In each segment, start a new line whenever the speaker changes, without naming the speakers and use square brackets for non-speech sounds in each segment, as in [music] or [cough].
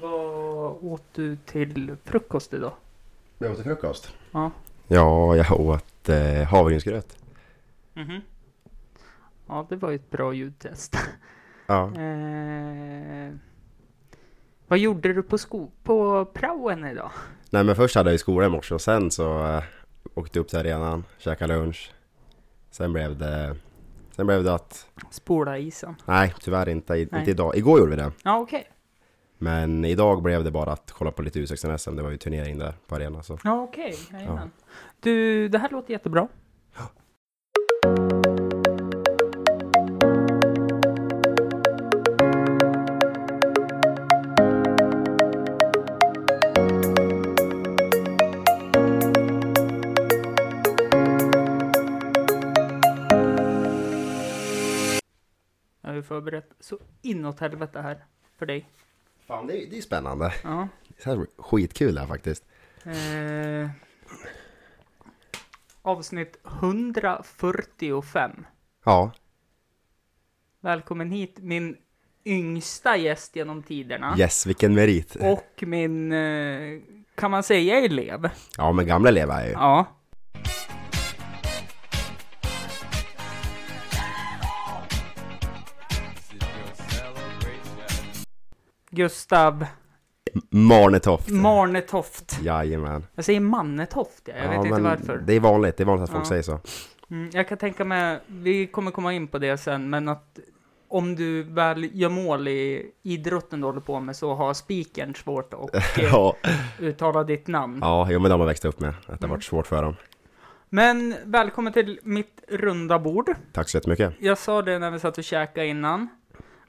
Vad åt du till frukost idag?
Jag åt till frukost.
Ja.
Ja, jag åt eh, havregrynsgröt.
Mhm. Ja, det var ju ett bra ljudtest.
Ja.
Eh, vad gjorde du på, sko- på praoen idag?
Nej, men först hade jag i skolan i morse och sen så eh, åkte jag upp till arenan, käkade lunch. Sen blev det... Sen blev det att...
Spola isen.
Nej, tyvärr inte, i,
Nej.
inte idag. Igår gjorde vi det.
Ja, okej.
Men idag blev det bara att kolla på lite U16-SM. Det var ju turnering där på arenan. Så.
Ja, okej. Jajamän. Du, det här låter jättebra. Jag har ju förberett så inåt helvete här för dig.
Fan, det är, det är spännande.
Ja.
Det här är skitkul det här faktiskt.
Eh, avsnitt 145.
Ja,
Välkommen hit min yngsta gäst genom tiderna.
yes, vilken merit.
Och min, eh, kan man säga elev?
Ja, men gamla elever är ju.
Ja. Gustav
Marnetoft.
Marnetoft.
Jajamän.
Jag säger Mannetoft, ja. jag
Ja,
vet inte
men
varför.
Det är vanligt, det är vanligt att folk
Ja.
säger så.
Mm, jag kan tänka mig, vi kommer komma in på det sen, men att om du väl gör mål i idrotten du håller på med så har spikern svårt att eh,
[laughs] Ja,
uttala ditt namn.
ja jo, men de har växt upp med. Att det har
Mm.
varit svårt för dem.
Men välkommen till mitt runda bord.
Tack så jättemycket.
Jag sa det när vi satt och käkade innan,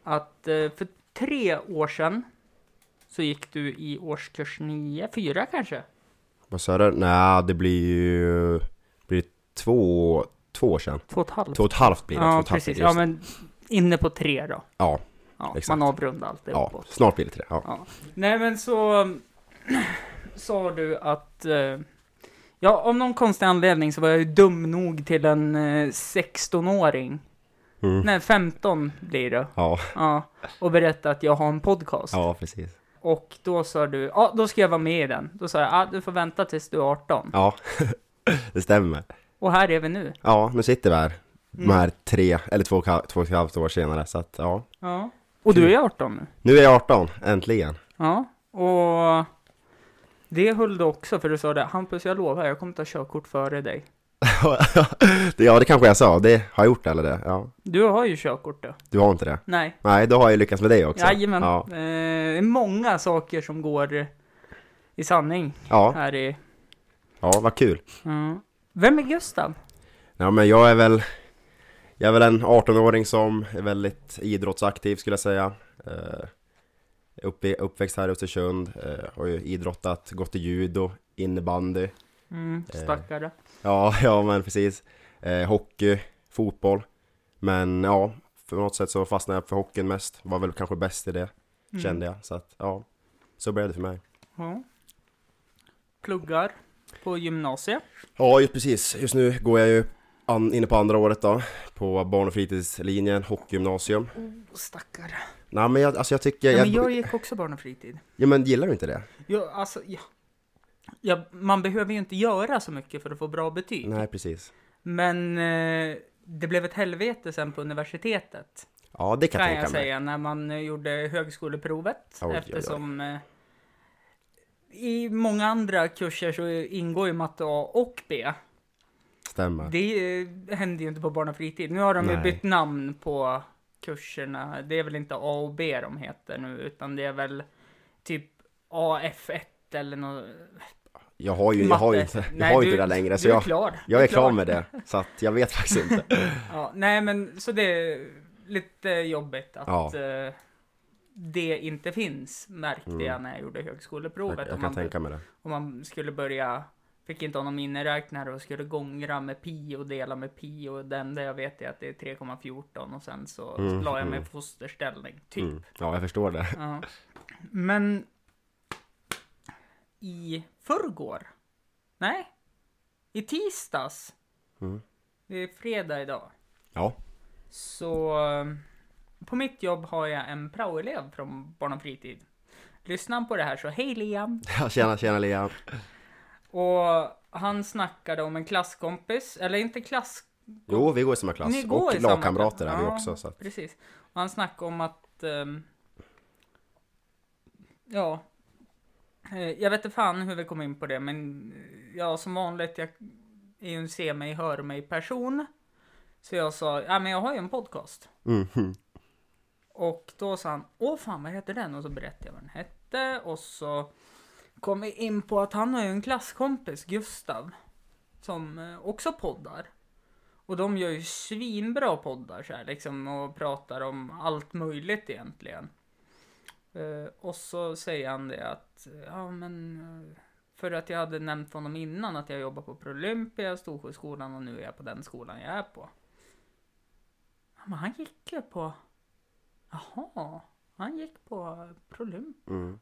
att eh, för tre år sedan så gick du i årskurs nio, fyra kanske?
Vad sa du? Nej, det blir ju... Blir det två, två år sedan?
Två och ett halvt?
Två och ett halvt blir det. två
ja,
och ett halvt
precis.
blir det,
Ja,
just.
men inne på tre då.
ja,
Ja,
Exakt.
man avrundar alltid
ja,
uppåt.
snart blir det tre. Ja.
Ja. Nej men så [clears throat] um, sa du att, eh, ja av någon konstig anledning så var jag ju dum nog till en eh, 16-åring.
Mm.
Nej 15 blir det.
Ja,
Ja, och berätta att jag har en podcast.
ja, precis.
Och då sa du, ja då ska jag vara med i den. Då sa jag, ah, du får vänta tills du är 18.
Ja, [laughs] det stämmer.
Och här är vi nu.
Ja, nu sitter vi här.
Mm.
De här tre, eller två, och ett halvt- två och ett halvt år senare. Så att, ja.
Ja. Och
Mm.
du är 18 nu.
Nu är jag 18, äntligen.
Ja, och det höll du också för du sa det, Hampus jag lovar, jag kommer ta körkort före dig.
Det- ja, det kanske jag sa. Det har jag gjort, eller det? Ja.
Du har ju körkort då.
Du har inte det?
Nej.
Nej, då har jag lyckats med det också.
Jajamän.
Ja,
Eh, det är många saker som går i sanning
ja,
här i...
ja vad kul.
Mm. Vem är Gustav?
Ja, men jag är väl... Jag är väl en 18-åring som är väldigt idrottsaktiv skulle jag säga. Eh, uppe, uppväxt här i Östersund, eh, har ju idrottat, gått i judo, innebandy.
Mm,
Eh.
stackare.
Ja, [laughs] ja men precis. Eh, hockey, fotboll. Men ja, på något sätt så fastnade jag för hockeyn mest. Var väl kanske bäst i det, kände jag. Så att, ja, så blev det för mig.
Ja. Pluggar på gymnasiet.
Ja, just precis. Just nu går jag ju an, inne på andra året då, på barn och fritidslinjen, hockeygymnasium.
Oh, stackare.
Nej men jag, alltså jag tycker,
Ja,
jag,
men jag gick också barn och fritid.
ja, men gillar du inte det?
Jag, alltså, ja. Ja, man behöver ju inte göra så mycket för att få bra betyg.
Nej precis.
Men eh, det blev ett helvete sen på universitetet.
Ja det kan,
kan
jag
jag
tänka mig.
säga, när man eh, gjorde högskoleprovet.
Oj, oj, oj.
eftersom eh, i många andra kurser så ingår ju matte A och B.
Stämmer.
Det eh, händer ju inte på barn och fritid. Nu har de ju
Nej.
bytt namn på kurserna. Det är väl inte A och B de heter nu, utan det är väl typ AF1 eller något.
Jag har ju, jag har ju inte, jag har ju inte det längre så
du är
jag,
klar. Du
jag är klar med det. Så att jag vet
[laughs]
faktiskt inte.
Ja, nej men så det är lite jobbigt att eh, det inte finns märkte jag när jag gjorde högskoleprovet.
Mm. Jag, jag
Om
kan
man,
tänka mig det.
om man skulle börja, fick inte ha någon miniräknare och skulle gångra med pi och dela med pi och det enda jag vet är att det är 3,14 och sen så la jag mig i fosterställning, typ.
Mm. Ja jag förstår det.
Ja. Men i förrgår? Nej, i tisdags.
Mm.
Det är fredag idag.
Ja. [laughs]
Så eh, på mitt jobb har jag en praoelev från barn och fritid. Lyssnar han på det här så, hej Liam!
Ja, tjena, tjena Liam.
Och han snackade om en klasskompis, eller inte klass...
Jo, vi går i samma klass.
Ni går
och
i samma
lagkamrater är vi
klass.
också. Så att,
Precis. Och han snackade om att... ehm, ja. Eh, Jag vet inte fan hur vi kom in på det, men eh, ja, som vanligt, jag är ju en se mig, hör mig person. Så jag sa, ja men jag har ju en podcast.
mm, mm.
Och då sa han, åh fan vad heter den? Och så berättade jag vad den hette och så kom vi in på att han har ju en klasskompis, Gustav, som eh, också poddar. Och de gör ju svinbra poddar så här liksom och pratar om allt möjligt egentligen. Eh, och så säger han det att, ja men, eh, för att jag hade nämnt honom innan att jag jobbar på Prolympia, Storsjöskolan och nu är jag på den skolan jag är på. Ja, Men han gick ju på Jaha, han gick på Prolymp.
Mm.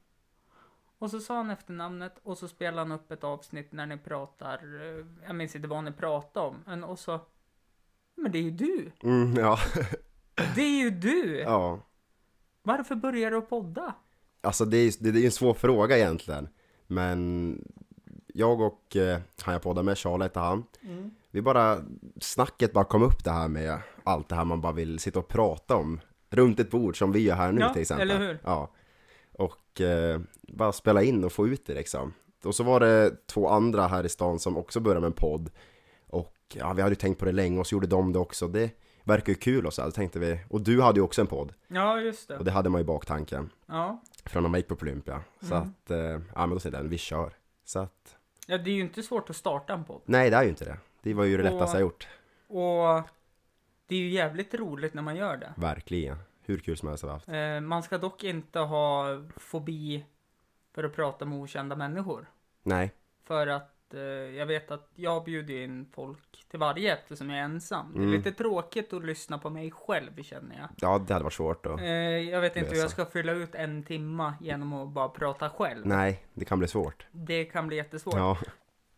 Och så sa han efternamnet och så spelade han upp ett avsnitt när ni pratar, eh, jag minns inte vad ni pratade om, men och så Men det är ju du!
Mm, ja. [laughs]
Det är ju du!
ja.
Varför börjar du podda?
Alltså det är, det är en svår fråga egentligen. Men jag och eh, han jag poddar med, Charlie heter han.
Mm.
Vi bara, snacket bara kom upp det här med allt det här man bara vill sitta och prata om. Runt ett bord som vi gör här nu
Ja,
till exempel.
eller hur?
Ja. Och eh, bara spela in och få ut det liksom. Och så var det två andra här i stan som också började med en podd. Och ja, vi hade ju tänkt på det länge och så gjorde de det också. Det verkar ju kul och så här, tänkte vi. Och du hade ju också en podd.
Ja, just
Och
det.
det hade man ju i baktanken
Ja.
från när man gick på Olympia. Så
Mm.
att, eh, ja men då säger den, vi kör. Så att,
ja, det är ju inte svårt att starta en podd.
nej det är ju inte det. Det var ju det
Och-
lättaste jag gjort.
Och det är ju jävligt roligt när man gör det.
Verkligen. Hur kul som helst har vi haft.
Eh, Man ska dock inte ha fobi för att prata med okända människor.
Nej.
För att eh, jag vet att jag bjuder in folk till varje eftersom jag är ensam. Det
Mm.
är lite tråkigt att lyssna på mig själv känner jag.
Ja, det hade varit svårt då.
Eh, jag vet inte hur
Läsa.
jag ska fylla ut en timma genom att bara prata själv.
Nej, det kan bli svårt.
Det kan bli jättesvårt.
Ja.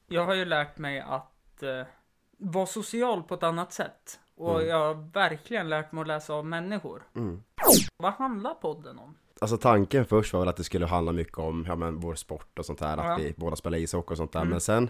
Jag har ju lärt mig att eh, vara social på ett annat sätt. Och
Mm.
jag har verkligen lärt mig att läsa av människor.
Mm.
Vad handlar podden om?
Alltså tanken först var väl att det skulle handla mycket om, ja men vår sport och sånt där,
Ja.
att vi båda spelar ishockey och sånt där.
Mm.
Men sen,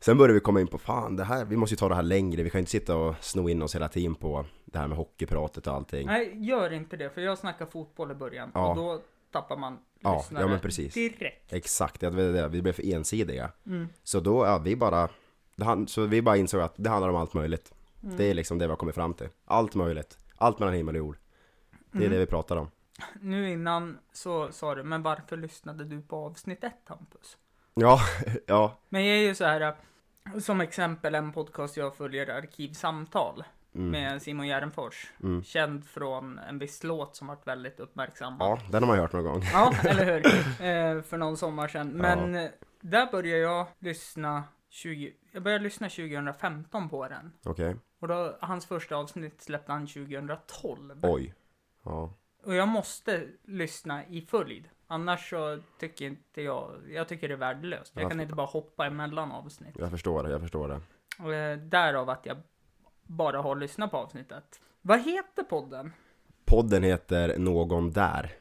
sen började vi komma in på, fan det här, vi måste ju ta det här längre. Vi kan ju inte sitta och sno in oss hela tiden på det här med hockeypratet och allting.
Nej, gör inte det. För jag snackade fotboll i början.
Ja.
Och då tappar man
Ja,
lyssnare
ja, men precis.
direkt.
Exakt, det var det. vi blev för ensidiga.
Mm.
Så då, ja, vi bara, det han, så vi bara insåg att det handlar om allt möjligt.
Mm.
Det är liksom det vi har kommit fram till. Allt möjligt. Allt mellan himmel och jord. Det är
Mm.
det vi pratar om.
Nu innan så sa du, men varför lyssnade du på avsnitt ett Hampus?
Ja, [laughs] ja,
Men jag är ju så här, äh, som exempel en podcast jag följer, Arkivsamtal,
Mm.
med Simon Järnfors.
Mm.
Känd från en viss låt som varit väldigt uppmärksammad.
ja, den har man ju hört någon gång.
Ja, eller hur? Eh, för någon sommar sedan. Men eh, där började jag lyssna 20, jag började lyssna 2015 på den.
Okej,
Och då, hans första avsnitt släppte han 2012.
oj. Ja,
Och jag måste lyssna i följd. Annars så tycker inte jag, jag tycker det är värdelöst. Jag kan
Varför?
inte bara hoppa emellan avsnitt.
jag förstår, jag förstår det.
Och, eh, Därav att jag bara har lyssnat på avsnittet. Vad heter podden?
Podden heter Någon Där.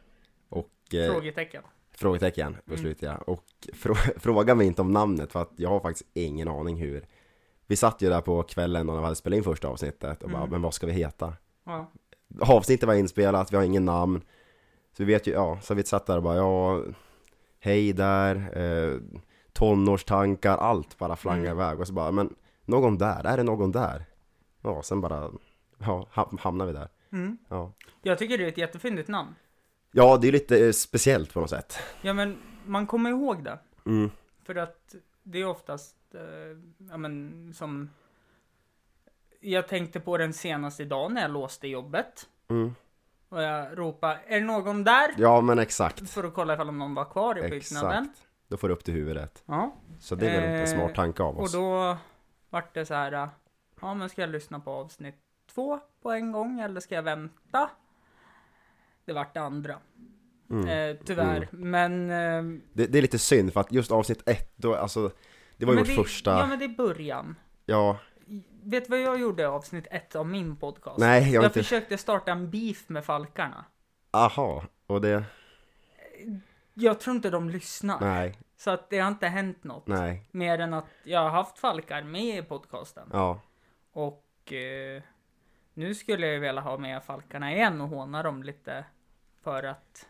Och... eh,
Frågetecken.
Frågetecken,
Mm.
på slutet ja. Och frå- [laughs] fråga mig inte om namnet för att jag har faktiskt ingen aning hur. Vi satt ju där på kvällen när vi hade spelat in första avsnittet och bara,
Mm.
men vad ska vi heta?
Ja.
avsnittet var inspelat, vi har ingen namn. Så vi vet ju, ja, så vi satt där och bara, ja, hej där, eh, tonårstankar, allt bara flangar
Mm.
iväg. Och så bara, men någon där, är det någon där? Ja, sen bara, ja, ham- hamnar vi där.
Mm.
Ja,
Jag tycker det är ett jättefyndigt namn.
ja det är ju lite eh, speciellt på något sätt.
Ja men man kommer ihåg det.
Mm,
För att det är oftast, eh, ja men som... Jag tänkte på den senast idag när jag låste jobbet.
mm.
Och jag ropade, är det någon där?
Ja, men exakt.
För att kolla ifall om någon var kvar i byggnaden.
Exakt. Då får du upp till huvudet.
Ja.
Så det är väl en
Eh,
smart tanke av
Och
oss.
då vart det så här. äh, Ja men ska jag lyssna på avsnitt två på en gång eller ska jag vänta? Det vart det andra.
Mm.
Eh, tyvärr. Men... Eh,
Det, det är lite synd för att just avsnitt ett, då, alltså, det var ju
men
vårt första,
Ja men det är början.
ja,
Vet du vad jag gjorde i avsnitt ett av min podcast?
nej, jag
Jag,
har inte,
försökte starta en beef med Falkarna.
aha, och det,
jag tror inte de lyssnar.
Nej,
Så att det har inte hänt något.
nej,
Mer än att jag har haft Falkar med i podcasten.
ja,
Och eh, nu skulle jag ju vilja ha med Falkarna igen och håna dem lite. För att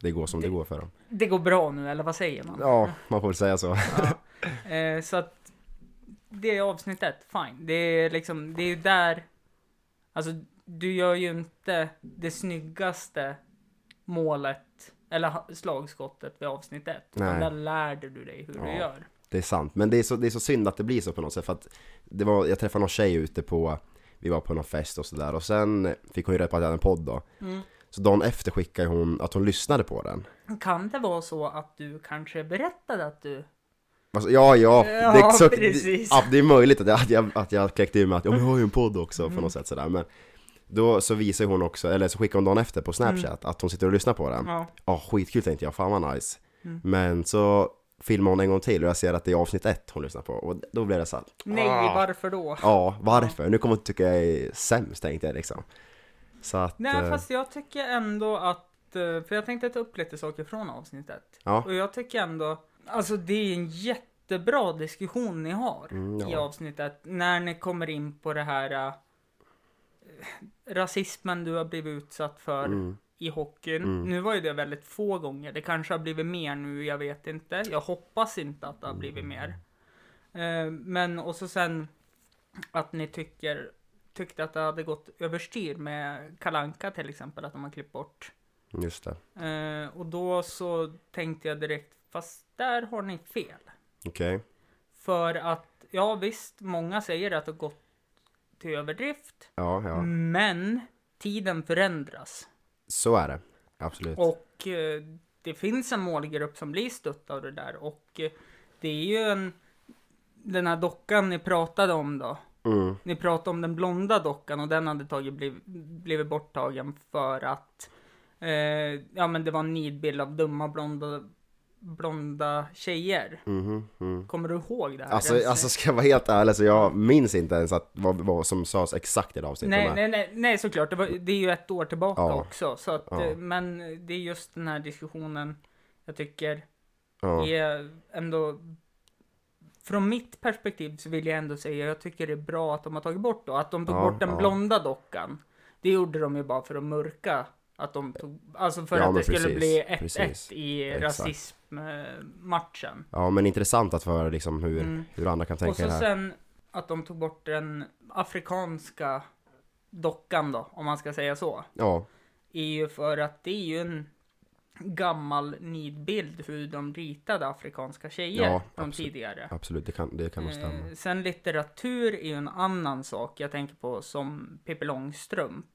det går som det går för dem.
det går bra nu, eller vad säger man?
Ja, man får väl säga så. [laughs]
Ja. Eh, så att det är avsnittet, fine. Det är liksom, det är ju där. Alltså, du gör ju inte det snyggaste målet eller ha- slagskottet vid avsnitt ett. Utan
Nej.
där lärde du dig hur du
Ja.
gör.
Det är sant, men det är, så, det är så synd att det blir så på något sätt för att det var, jag träffade någon tjej ute på, vi var på någon fest och sådär och sen fick hon ju reda på att jag hade en podd då.
Mm.
Så dagen efter skickade hon att hon lyssnade på den.
Kan det vara så att du kanske berättade att du...
Alltså, ja, ja,
Ja,
det, är så, det,
precis.
ja, det är möjligt att jag, att jag, att jag kläckte ur mig att ja, men jag har ju en podd också
Mm.
på något sätt sådär men då så visar hon också, eller så skickar hon dagen efter på snapchat att hon sitter och lyssnar på den.
Mm. Ja.
Ja, skitkul tänkte jag, fan vad nice.
Mm.
Men så filmar hon en gång till och jag ser att det är avsnitt ett hon lyssnar på och då blir det så att
Nej,
ah.
varför då?
Ja, varför? Nu kommer hon tycka jag är sämst tänkte jag liksom. Så att...
Nej,
eh,
fast jag tycker ändå att... eh, För jag tänkte ta upp lite saker från avsnittet.
Ja.
Och jag tycker ändå... Alltså det är en jättebra diskussion ni har
Mm, ja.
i avsnittet. När ni kommer in på det här... eh, rasismen du har blivit utsatt för
Mm.
i hockeyn. Nu var ju det väldigt få gånger. Det kanske har blivit mer nu, jag vet inte. Jag hoppas inte att det har blivit
Mm.
mer. Eh, Men och så sen att ni tycker, tyckte att det hade gått överstyr med Kalanka till exempel, att de har klippt bort.
Just det.
Eh, och då så tänkte jag direkt, fast där har ni fel.
Okej.
För att, ja visst, många säger att det har gått till överdrift,
Ja, ja.
Mm. men tiden förändras.
Så är det. Absolut.
Och eh, det finns en målgrupp som blir stött av det där och eh, det är ju en, den här dockan ni pratade om då.
Mm.
Ni pratade om den blonda dockan och den hade tagit bliv, blivit borttagen för att eh, ja men det var en nidbild av dumma blonda, blonda tjejer.
Mhm, mm.
Kommer du ihåg det här?
Alltså,
ens?
alltså ska jag vara helt ärlig så jag minns inte ens att vad, vad som sades exakt i det avsnittet.
nej,
men-
nej, nej, nej såklart, det, var, det är ju ett år tillbaka
Ja.
också. Så att,
Ja.
eh, Men det är just den här diskussionen jag tycker
Ja.
är ändå från mitt perspektiv så vill jag ändå säga jag tycker det är bra att de har tagit bort då. Att de tog
Ja,
bort den
ja.
blonda dockan. Det gjorde de ju bara för att mörka. Att de tog, alltså för
Ja,
att
men
det skulle
precis,
bli
precis.
1-1 i
Exakt.
rasismmatchen.
ja, men intressant att få höra liksom hur,
Mm.
hur andra kan
Och
tänka i
så
det här.
sen att de tog bort den afrikanska dockan då, om man ska säga så.
Ja,
Är ju för att det är ju en gammal nidbild hur de ritade afrikanska tjejer
Ja,
från
absolut.
tidigare.
absolut. Det kan, det kan nog stämma.
Eh, sen litteratur är ju en annan sak. Jag tänker på som Pippi Långstrump.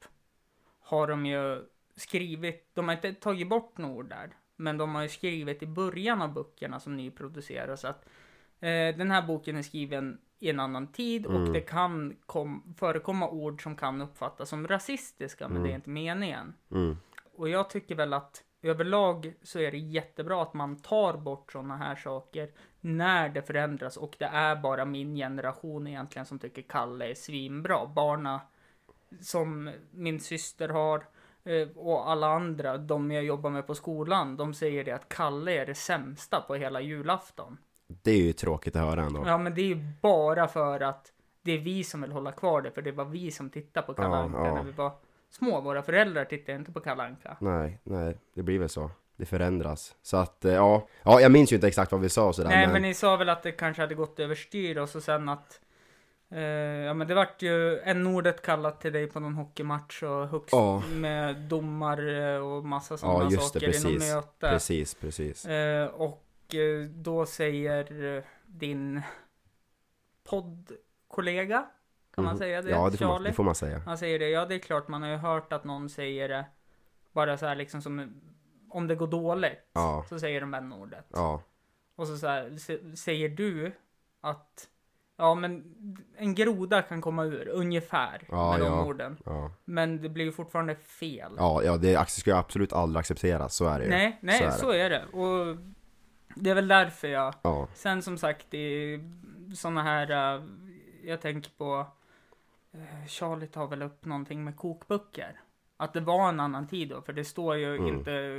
Har de ju skrivit, de har inte tagit bort några ord där. Men de har ju skrivit i början av böckerna som nyproduceras att eh, den här boken är skriven i en annan tid
Mm.
och det kan kom, förekomma ord som kan uppfattas som rasistiska men det är inte meningen.
Mm.
Och jag tycker väl att överlag så är det jättebra att man tar bort sådana här saker när det förändras och det är bara min generation egentligen som tycker Kalle är svinbra. Barna som min syster har eh, och alla andra, de jag jobbar med på skolan, de säger det att Kalle är det sämsta på hela julafton.
Det är ju tråkigt att höra ändå.
Ja, men det är ju bara för att det är vi som vill hålla kvar det, för det var vi som tittade på Kalle
Ja,
Anka
ja.
när vi var små. Våra föräldrar tittade inte på Kalle Anka.
Nej, nej, det blir väl så. Det förändras. Så att, eh, ja. Ja, jag minns ju inte exakt vad vi sa och sådär.
Nej men ni sa väl att det kanske hade gått överstyr och så sen att eh, Ja men det vart ju en ordet kallat till dig på någon hockeymatch och högst
Ja.
med domare och massa sådana
Ja just det,
saker i något
precis.
möte.
Precis, precis.
Eh, och eh, då säger eh, din poddkollega, kan man
Mhm.
säga det?
Ja, det får, man,
Charlie?
det får man säga.
Han säger det, ja det är klart man har ju hört att någon säger det bara så här liksom som om det går dåligt
Ja.
så säger de en ordet.
Ja,
Och så, så, här, se- säger du att ja, men en groda kan komma ur ungefär
Ja,
med de
ja.
orden.
ja.
Men det blir ju fortfarande fel.
Ja, ja det ac- ska ju absolut aldrig accepteras, så är det ju.
nej, nej,
så
så
är
är,
det.
det. Och det är väl därför jag.
Ja,
Sen som sagt, det är såna här. eh, Jag tänker på. eh, Charlie tar väl upp någonting med kokböcker. Att det var en annan tid då, för det står ju
Mm.
inte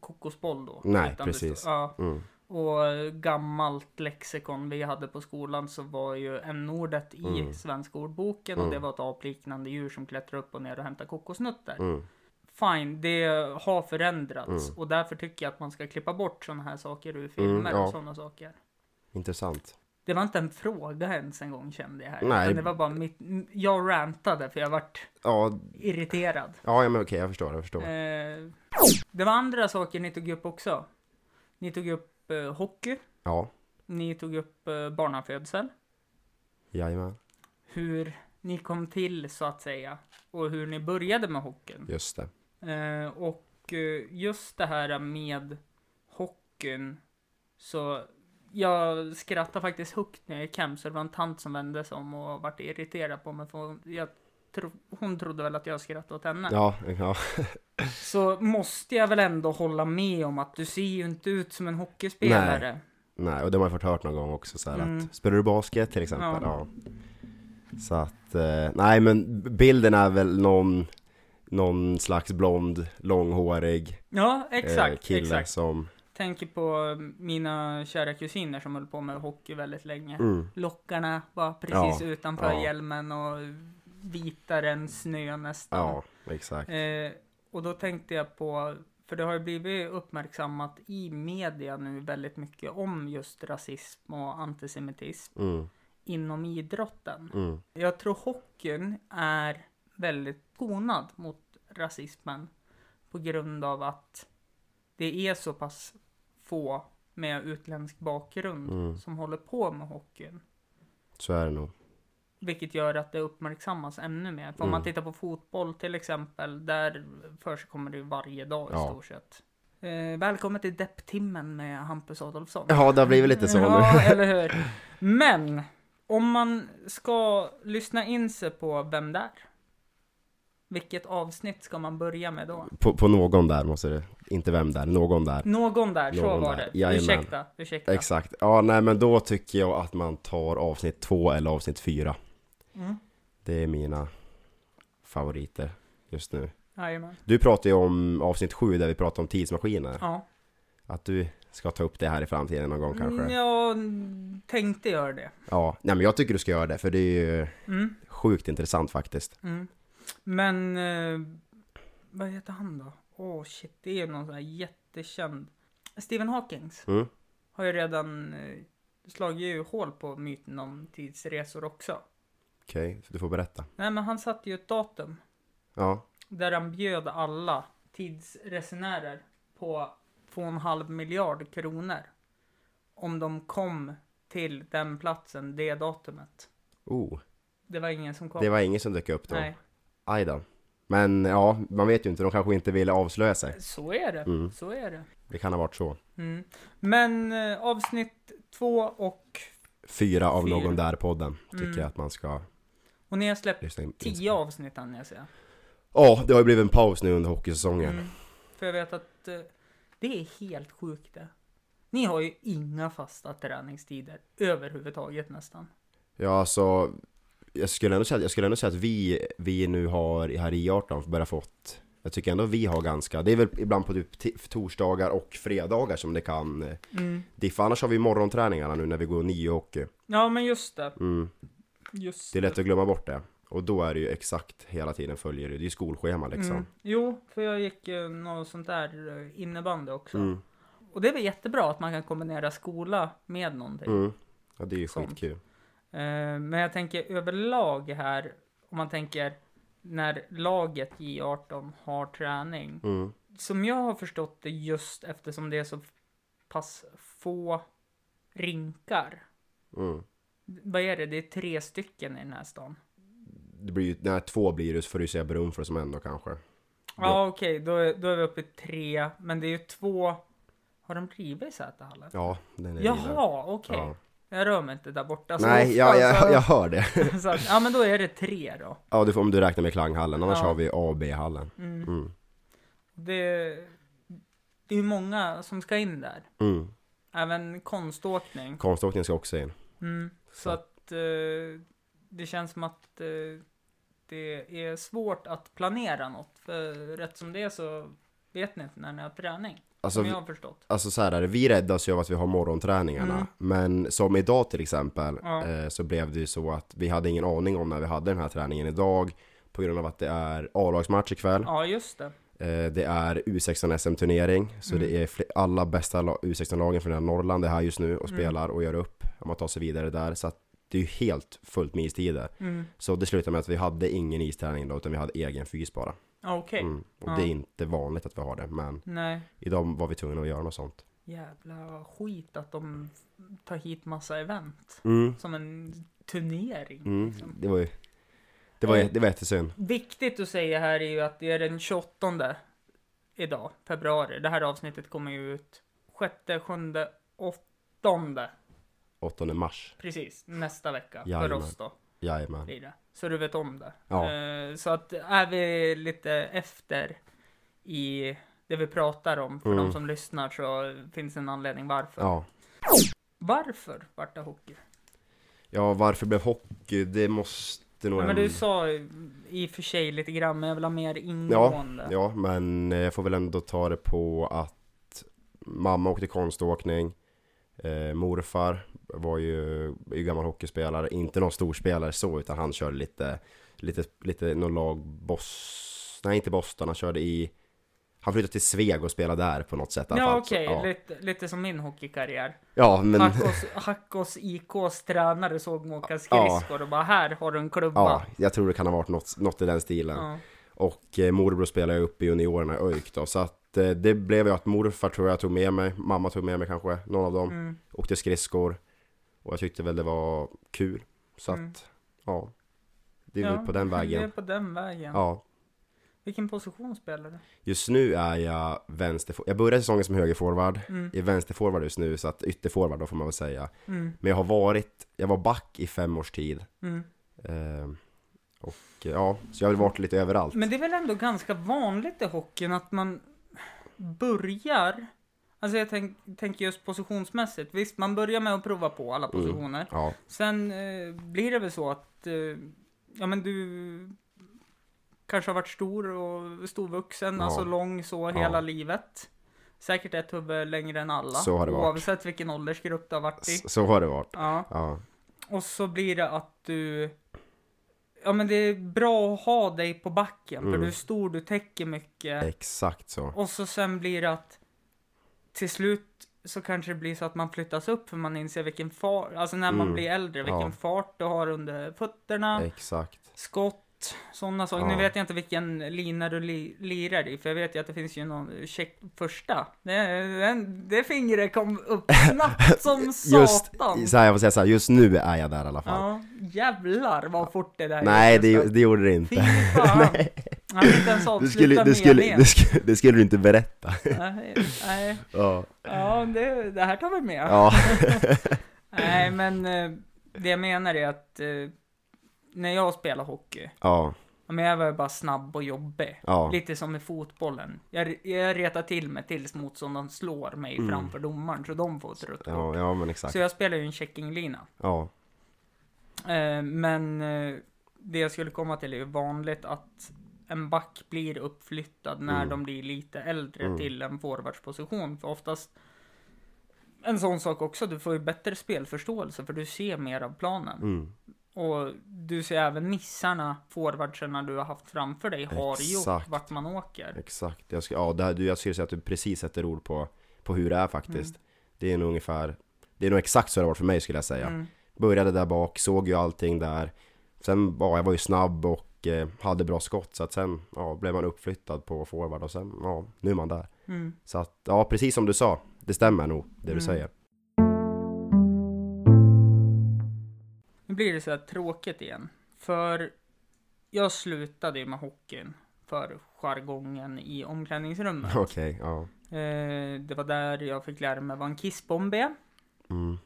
kokosboll då.
Nej,
det
precis.
står- ja.
Mm.
Och gammalt lexikon vi hade på skolan så var ju n-ordet i
Mm.
svenska ordboken och
Mm.
det var ett apliknande djur som klättrar upp och ner och hämtar kokosnötter.
Mm.
Fine, det har förändrats
Mm.
och därför tycker jag att man ska klippa bort sådana här saker ur filmer
Mm, ja.
och sådana saker.
Intressant.
Det var inte en fråga ens en gång kände jag här.
Nej.
Utan Det var bara mitt, jag rantade för jag vart
Ja,
irriterad.
ja men okej jag förstår, jag förstår.
Eh, det var andra saker ni tog upp också. Ni tog upp eh, hockey.
Ja,
Ni tog upp eh, barnafödsel.
jajamän.
Hur ni kom till så att säga. Och hur ni började med hockeyn.
Just det.
Eh, och eh, just det här med hockeyn. Så jag skrattade faktiskt högt när jag gick hem. Så det var en tant som vände sig om och vart irriterad på mig. För hon, jag tro, hon trodde väl att jag skrattade åt henne.
Ja, ja.
Så måste jag väl ändå hålla med om att du ser ju inte ut som en hockeyspelare.
Nej, och det har man fått hört någon gång också så här
Mm.
att Spelar du basket till exempel? Ja.
Ja.
Så att, eh, nej men bilden är väl någon Någon slags blond, långhårig
Ja,
eh,
exakt.
kille
exakt.
som
Tänker på mina kära kusiner som höll på med hockey väldigt länge.
mm,
Lockarna var precis
Ja,
utanför
ja.
hjälmen och vitare än snö nästan.
Ja, exakt
Eh, och då tänkte jag på, för det har ju blivit uppmärksammat i media nu väldigt mycket om just rasism och antisemitism
mm,
inom idrotten.
mm,
Jag tror hockeyn är väldigt skonad mot rasismen på grund av att det är så pass få med utländsk bakgrund
Mm.
som håller på med hockeyn.
Så är det nog
Vilket gör att det uppmärksammas ännu mer. För om
Mm.
man tittar på fotboll till exempel, där förekommer det ju varje dag i
Ja.
stort sett. Eh, välkommen till depptimmen med Hampus Adolfsson.
Ja, det har blivit lite så nu [laughs]
Ja, eller hur. Men om man ska lyssna in sig på vem där. Vilket avsnitt ska man börja med då?
på, på någon där måste det, inte vem där, någon där
Någon där, så
Någon
var
där.
det.
Jajamän.
Ursäkta, ursäkta.
Exakt, ja nej men då tycker jag att man tar avsnitt två eller avsnitt fyra
Mm.
Det är mina favoriter just nu
Jajamän.
Du pratade ju om avsnitt sju där vi pratade om tidsmaskiner.
Ja.
Att du ska ta upp det här i framtiden någon gång kanske? Ja.
Jag tänkte göra det.
Nej men jag tycker du ska göra det för det är ju
Mm,
sjukt intressant faktiskt.
mm. Men eh, vad heter han då? Åh shit, det är någon sån här jättekänd. Stephen Hawkings
Mm.
har ju redan eh, slagit ju hål på myten om tidsresor också.
Okej, så du får berätta.
Nej men han satte ju ett datum
Ja.
där han bjöd alla tidsresenärer på 2,5 miljard kronor. Om de kom till den platsen, det datumet.
Oh,
Det var ingen som kom.
det var ingen som dök upp då.
Nej,
Aj då. Men ja, man vet ju inte. De kanske inte ville avslöja sig.
så är det.
Mm.
Så är det.
Det kan ha varit så.
Mm. Men eh, avsnitt två och...
Fyra av
Fyra.
någon där-podden tycker
Mm.
jag att man ska
Och ni har släppt
lyssna in.
tio avsnitt hann jag säga.
Ja, det har ju blivit en paus nu under hockeysäsongen.
Mm. För jag vet att eh, det är helt sjukt det. Ni har ju inga fasta träningstider överhuvudtaget nästan.
Ja, alltså. Jag skulle ändå säga, jag skulle ändå säga att vi, vi nu har här i 18 börjat fått Jag tycker ändå vi har ganska, det är väl ibland på typ t- torsdagar och fredagar som det kan eh, diffa Annars har vi morgonträningarna nu när vi går nio hockey
Ja men just det.
mm,
Just
Det är lätt att glömma bort det Och då är det ju exakt hela tiden följer det, det är ju skolschema
Mm.
liksom
Jo, för jag gick eh, något sånt där eh, innebandy också.
Mm,
Och det är väl jättebra att man kan kombinera skola med någonting.
mm. Ja det är ju
Sånt.
skitkul
Eh, Men jag tänker överlag här, om man tänker när laget J18 har träning.
mm,
Som jag har förstått det just eftersom det är så pass få rinkar.
mm.
Vad är det? Det är tre stycken i den här stan.
Det blir ju, när två blir det så får du ju säga Brunflo som en då kanske
Ja, okej, då, är- då är vi uppe i tre. Men det är ju två. Har de rivit Zätahallen?
Ja, den är vidare.
Jaha, okej.
Ja.
Jag rör mig inte där borta. så
Nej,
ofta,
ja, jag,
så-
jag hör det [laughs]
[laughs] så att, ja, men då är det tre då.
Ja, du får, om du räknar med klanghallen, annars
Ja.
har vi A och B-hallen.
Mm.
Mm.
Det, det är ju många som ska in där.
Mm.
Även konståkning.
Konståkning ska också in.
Mm. Så att eh, det känns som att eh, det är svårt att planera något. För rätt som det är så vet ni inte när ni har träning.
Alltså,
Som
vi-
jag har förstått.
Alltså så här är det, vi räddas ju av att vi har morgonträningarna.
Mm.
Men som idag till exempel
Ja.
eh, så blev det ju så att vi hade ingen aning om när vi hade den här träningen idag. På grund av att det är A-lagsmatch ikväll.
Ja, just det.
Eh, det är U16 SM-turnering. Så
Mm.
det är fl- alla bästa la- U16-lagen från hela Norrland är här just nu och
Mm.
spelar och gör upp. Om man tar sig vidare där. Så att det är ju helt fullt med istider.
Mm.
Så det slutade med att vi hade ingen isträning då utan vi hade egen fys bara.
Ja, Okej.
Mm. Och
Ja.
det är inte vanligt att vi har det men
Nej.
idag var vi tvungna att göra något sånt.
Jävla skit att de tar hit massa event.
Mm.
Som en turnering.
Mm,
liksom.
det var ju Det var,
Eh.
det var jättesynd
Viktigt att säga här är ju att det är den 28 idag, februari. Det här avsnittet kommer ju ut 6, 7, 8
8 mars
precis nästa vecka för
Jajamän.
oss då.
Jajamän
Blir det. Så du vet om det.
Ja.
Eh, Så att är vi lite efter i det vi pratar om för
Mm.
de som lyssnar så finns en anledning varför.
Ja
Varför vart det hockey?
Ja varför blev hockey? Det måste nog
Ja, men
en-
du sa i- i och för sig lite grann, men jag vill ha mer ingående.
Ja men eh, jag får väl ändå ta det på att Mamma åkte konståkning eh, Morfar var ju, är ju gammal hockeyspelare Inte någon storspelare så utan han körde lite Lite, lite någon lag Bos... Nej inte Boston, han körde i Han flyttade till Sveg och spelade där på något sätt i alla
Ja
fall. Så,
okej,
ja.
lite, lite som min hockeykarriär.
[laughs] ja men
Hackos, Hackos IKs tränare såg mig åka skridskor och bara här har du en
Ja,
klubba.
jag tror det kan ha varit något, något i den stilen.
Ja.
Och eh, morbror spelade jag upp i juniorerna i ÖIK då. Så att eh, det blev ju att morfar tror jag tog med mig, mamma tog med mig kanske, någon av dem.
Mm.
Åkte skridskor. Och jag tyckte väl det var kul. Så
Mm.
att, ja. Det är
Ja,
väl på den
Det är
vägen.
på den vägen.
Ja.
Vilken position spelar du?
Just nu är jag vänsterforward. Jag började säsongen som högerforward.
Mm.
Jag är vänsterforward just nu, så att ytterforward då får man väl säga.
Mm.
Men jag har varit, jag var back i fem års tid.
Mm.
Ehm, och eh, ja, så jag har väl varit lite överallt.
Men det är väl ändå ganska vanligt i hockeyn att man börjar Alltså jag tänk, tänker just positionsmässigt. Visst, man börjar med att prova på
Mm.
alla positioner.
Ja.
Sen eh, blir det väl så att, eh, ja men du kanske har varit stor och storvuxen,
Ja.
alltså lång så hela livet. Säkert ett huvud längre än alla.
Så har det varit.
Oavsett vilken åldersgrupp du har varit i.
S- Så har det varit.
Ja.
Ja.
Och så blir det att du, ja men det är bra att ha dig på backen, för
Mm.
du är stor, du täcker mycket.
Exakt så.
Och så sen blir det att till slut så kanske det blir så att man flyttas upp för man inser vilken fart, alltså när man
Mm.
blir äldre, vilken
Ja.
fart du har under fötterna,
Exakt.
skott, sådana saker. Nu
Ja.
vet jag inte vilken lina du li, lirar i, för jag vet ju att det finns ju någon check första. Det, den, det fingret kom
[laughs]
upp snabbt som
Just,
satan.
så här, jag får säga så här, just nu är jag där i alla fall.
Ja, jävlar vad fort det där
Nej,
gick.
det, det gjorde det
Fy
[laughs] inte.
fan. Han fick inte ens
Det skulle,
avsluta
det, skulle,
meningen.
det, skulle, det skulle du inte berätta.
Nej, nej.
Ja.
Ja, det, det här tar vi med.
Ja. [laughs]
Nej, men eh, det jag menar är att eh, när jag spelar hockey,
Ja.
ja, men jag var ju bara snabb och jobbig.
Ja.
Lite som i fotbollen. Jag, jag retar till mig tills motståndaren slår mig
Mm.
framför domaren så de får ett rött kort.
Ja, ja men
Så
exakt.
jag spelar ju en checkinglina.
Ja.
Eh, men eh, det jag skulle komma till är ju vanligt att en back blir uppflyttad när
Mm.
de blir lite äldre
Mm.
till en forwardsposition. För oftast en sån sak också, du får ju bättre spelförståelse för du ser mer av planen.
Mm.
Och du ser även missarna forwardsarna du har haft framför dig har gjort
Exakt.
vart man åker.
Exakt. Jag, ska, ja, det här, du, jag skulle säga att du precis sätter ord på, på hur det är faktiskt.
Mm.
Det är nog ungefär, det är nog exakt så det har varit för mig skulle jag säga.
Mm.
Började där bak, såg ju allting där. Sen, ja, jag var ju snabb och eh, hade bra skott så att sen, ja, blev man uppflyttad på forward och sen, ja, nu är man där.
Mm.
Så att, ja, precis som du sa, det stämmer nog det
Mm.
du säger. [laughs]
Nu blir det så här tråkigt igen. För jag slutade ju med hockeyn för jargongen i omklädningsrummet.
Okej, ja.
Eh, det var där jag fick lära mig vad en kissbomb är.
Mm.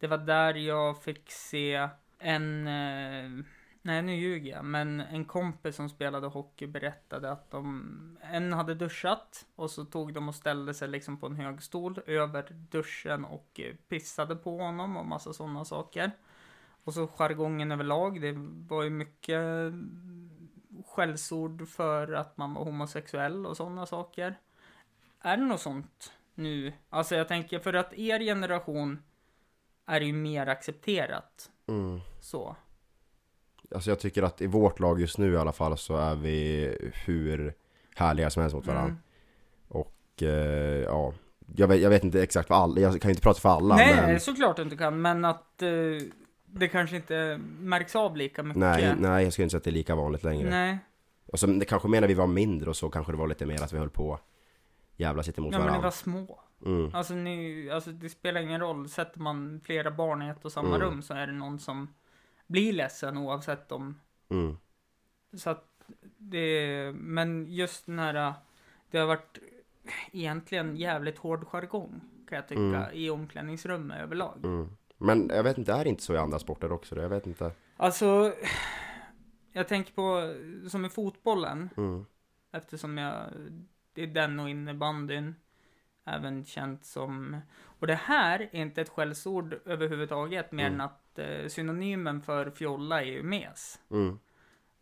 Det var där jag fick se en... Eh, nej, nu ljuger jag. Men en kompis som spelade hockey berättade att de... En hade duschat och så tog de och ställde sig liksom på en hög stol över duschen och eh, pissade på honom och massa sådana saker. Och så jargongen överlag, det var ju mycket skällsord för att man var homosexuell och sådana saker. Är det något sånt nu? Alltså jag tänker för att er generation är ju mer accepterat
Mm.
så.
Alltså jag tycker att i vårt lag just nu i alla fall så är vi hur härliga som helst mot varandra.
Mm.
Och eh, ja, jag vet, jag vet inte exakt vad alla, jag kan ju inte prata för alla
Nej,
men
såklart du inte kan, men att eh, det kanske inte märks av lika mycket.
nej, nej, jag skulle inte säga att det är lika vanligt längre.
Nej.
Och så, det kanske mer när vi var mindre och så kanske det var lite mer att vi höll på jävla sitt emot
Ja, men ni var
varandra.
små.
Mm.
Alltså, ni, alltså det spelar ingen roll, sätter man flera barn i ett och samma
Mm.
rum så är det någon som blir ledsen oavsett om...
Mm.
Så att det, men just den här, det har varit egentligen jävligt hård jargong kan jag tycka
Mm.
i omklädningsrummet överlag.
Mm. Men jag vet inte, är det inte så i andra sporter också? då? Jag vet inte.
Alltså, jag tänker på, som i fotbollen,
Mm.
Eftersom jag, det är den och innebandyn. Även känt som, och det här är inte ett skällsord överhuvudtaget mer
Mm.
än att eh, synonymen för fjolla är ju mes.
Mm.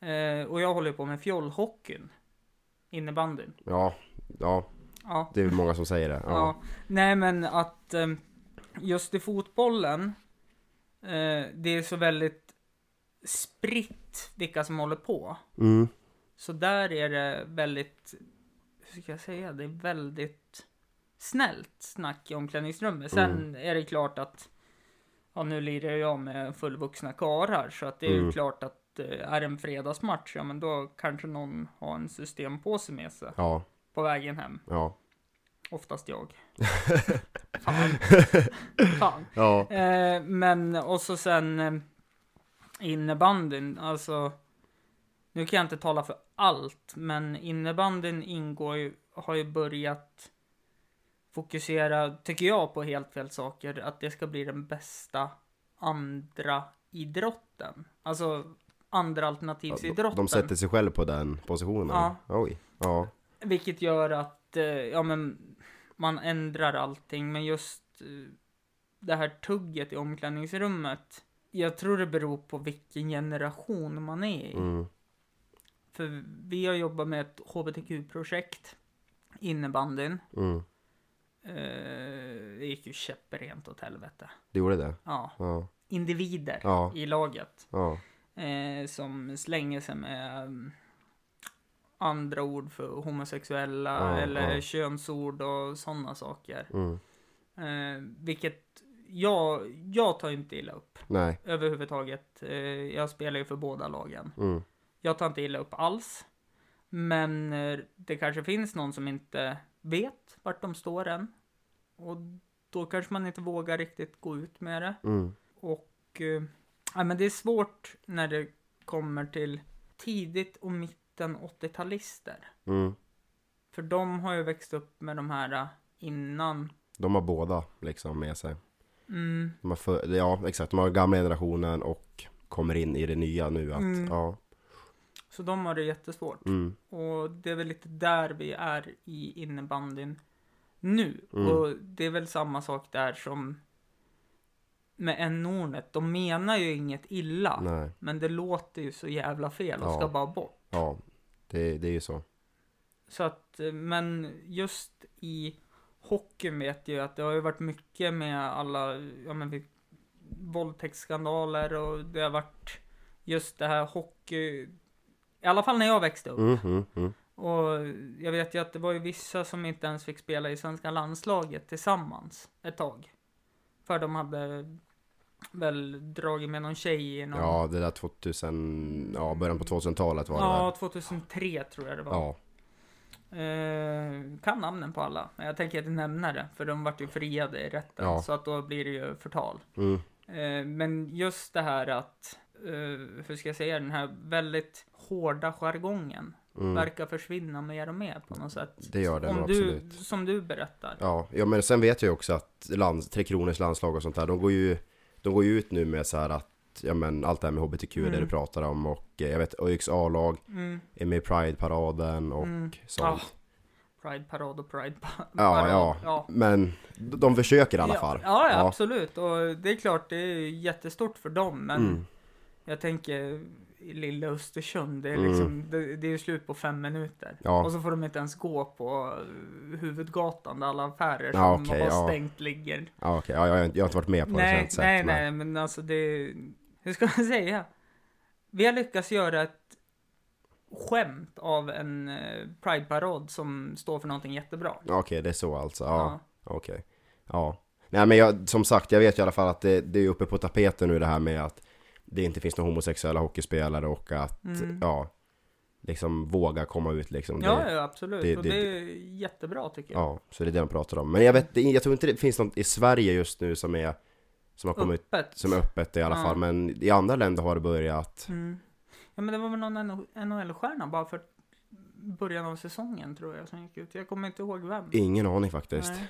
Eh, och jag håller ju på med fjollhockeyn. Innebandyn.
Ja, ja,
Ja.
det är många som säger det.
ja.
Ja.
Nej men att eh, just i fotbollen. Eh, det är så väldigt spritt vilka som håller på.
Mm.
Så där är det väldigt, hur ska jag säga, det är väldigt snällt snack i omklädningsrummet. Sen
Mm.
är det klart att, ja nu lirar jag med fullvuxna karar så att det är ju
Mm.
klart att eh, är det en fredagsmatch, ja men då kanske någon har en systempåse med sig
ja,
på vägen hem.
ja,
Oftast
[laughs]
jag. Fan. Fan.
ja.
Eh, men och så sen eh, innebandyn, alltså. Nu kan jag inte tala för allt, men innebandyn ingår ju, har ju börjat fokusera, tycker jag, på helt fel saker. Att det ska bli den bästa andra idrotten. Alltså andra
De,
alternativsidrotten.
de sätter sig själv på den positionen.
Ja.
Oj. Ja.
Vilket gör att, eh, ja men, man ändrar allting, men just eh, det här tugget i omklädningsrummet. Jag tror det beror på vilken generation man är i.
Mm.
För vi har jobbat med ett HBTQ-projekt, innebandyn.
Mm.
Eh, det gick ju käpprent åt helvete.
Det gjorde det.
Ja,
Ja.
individer
Ja.
i laget
Ja.
eh, som slänger sig med mm, andra ord för homosexuella
Ja,
eller
ja.
könsord och sådana saker.
Mm.
Eh, vilket jag, jag tar inte illa upp
Nej.
överhuvudtaget. Eh, jag spelar ju för båda lagen.
Mm.
Jag tar inte illa upp alls. Men eh, det kanske finns någon som inte vet vart de står än. Och då kanske man inte vågar riktigt gå ut med det.
Mm.
Och eh, ja, men det är svårt när det kommer till tidigt och mitten 80-talister.
Mm.
För de har ju växt upp med de här eh, innan.
De har båda liksom med sig.
Mm,
De har för, ja, exakt. De har gamla generationen och kommer in i det nya nu. Att,
Mm.
Ja.
så de har det jättesvårt.
Mm.
Och det är väl lite där vi är i innebandyn nu.
Mm.
Och det är väl samma sak där som med n-ordet. De menar ju inget illa.
Nej.
Men det låter ju så jävla fel och
Ja.
ska bara bort.
Ja. Det, det är ju så.
Så att, eh, men just i hockeyn vet jag ju att det har ju varit mycket med alla, ja men vi, våldtäktsskandaler och det har varit just det här hockey, i alla fall när jag växte upp.
Mm, mm, mm.
Och jag vet ju att det var ju vissa som inte ens fick spela i svenska landslaget tillsammans ett tag. För de hade väl dragit med någon tjej i någon...
Ja, det där 2000, ja, början på 2000-talet var det
Ja,
där.
2003 tror jag det var.
Ja.
Eh, kan namnen på alla, men jag tänker inte nämna det. För de vart ju friade i rätten,
Ja.
så att då blir det ju förtal.
Mm.
Eh, men just det här att, eh, hur ska jag säga, den här väldigt hårda jargongen
Mm.
verkar försvinna mer och mer på något sätt.
Det gör den
Om
absolut.
du, som du berättar.
Ja, ja men sen vet jag ju också att land, Tre Kronors landslag och sånt där, de går ju, de går ju ut nu med så här att Ja men allt det här med HBTQ är det
Mm.
du pratar om och eh, jag vet ÖIKs A-lag
Mm,
är med i Pride-paraden och
mm.
sånt.
Ah, Pride parad och Pride pa-
Ja,
parad.
ja. Men de försöker i alla fall.
Ja, ja, absolut. Och det är klart, det är jättestort för dem. Men
Mm.
jag tänker i lilla Östersund, det är,
Mm.
liksom, det, det är ju slut på fem minuter.
Ja.
Och så får de inte ens gå på eh, huvudgatan där alla affärer
Ja,
som
okej,
har
ja.
stängt ligger.
Ja, okej, ja, jag, har inte- jag har inte varit med på det så jag har
Nej,
inte sett,
nej,
men-
nej, men alltså det... Hur ska man [laughs] säga? Vi har lyckats göra ett skämt av en eh, Pride-parad som står för någonting jättebra.
Okej, det är så alltså. Ja, okej. Ja. Nej men jag, som sagt, jag vet ju i alla fall att det, det är uppe på tapeten nu det här med att det inte finns några homosexuella hockeyspelare och att,
Mm.
ja, liksom våga komma ut liksom. Det,
Ja, ja, absolut.
det-
och
det-
det, är jättebra tycker jag.
ja, så det är det de pratar om. Men jag vet, det- jag tror inte det finns något i Sverige just nu som är, som har kommit,
Öppet.
som är öppet i alla
Ja.
fall. Men i andra länder har det börjat,
Mm. Ja, men det var väl någon NHL-stjärna bara för början av säsongen tror jag som gick ut. Jag kommer inte ihåg vem.
ingen aning faktiskt.
Nej.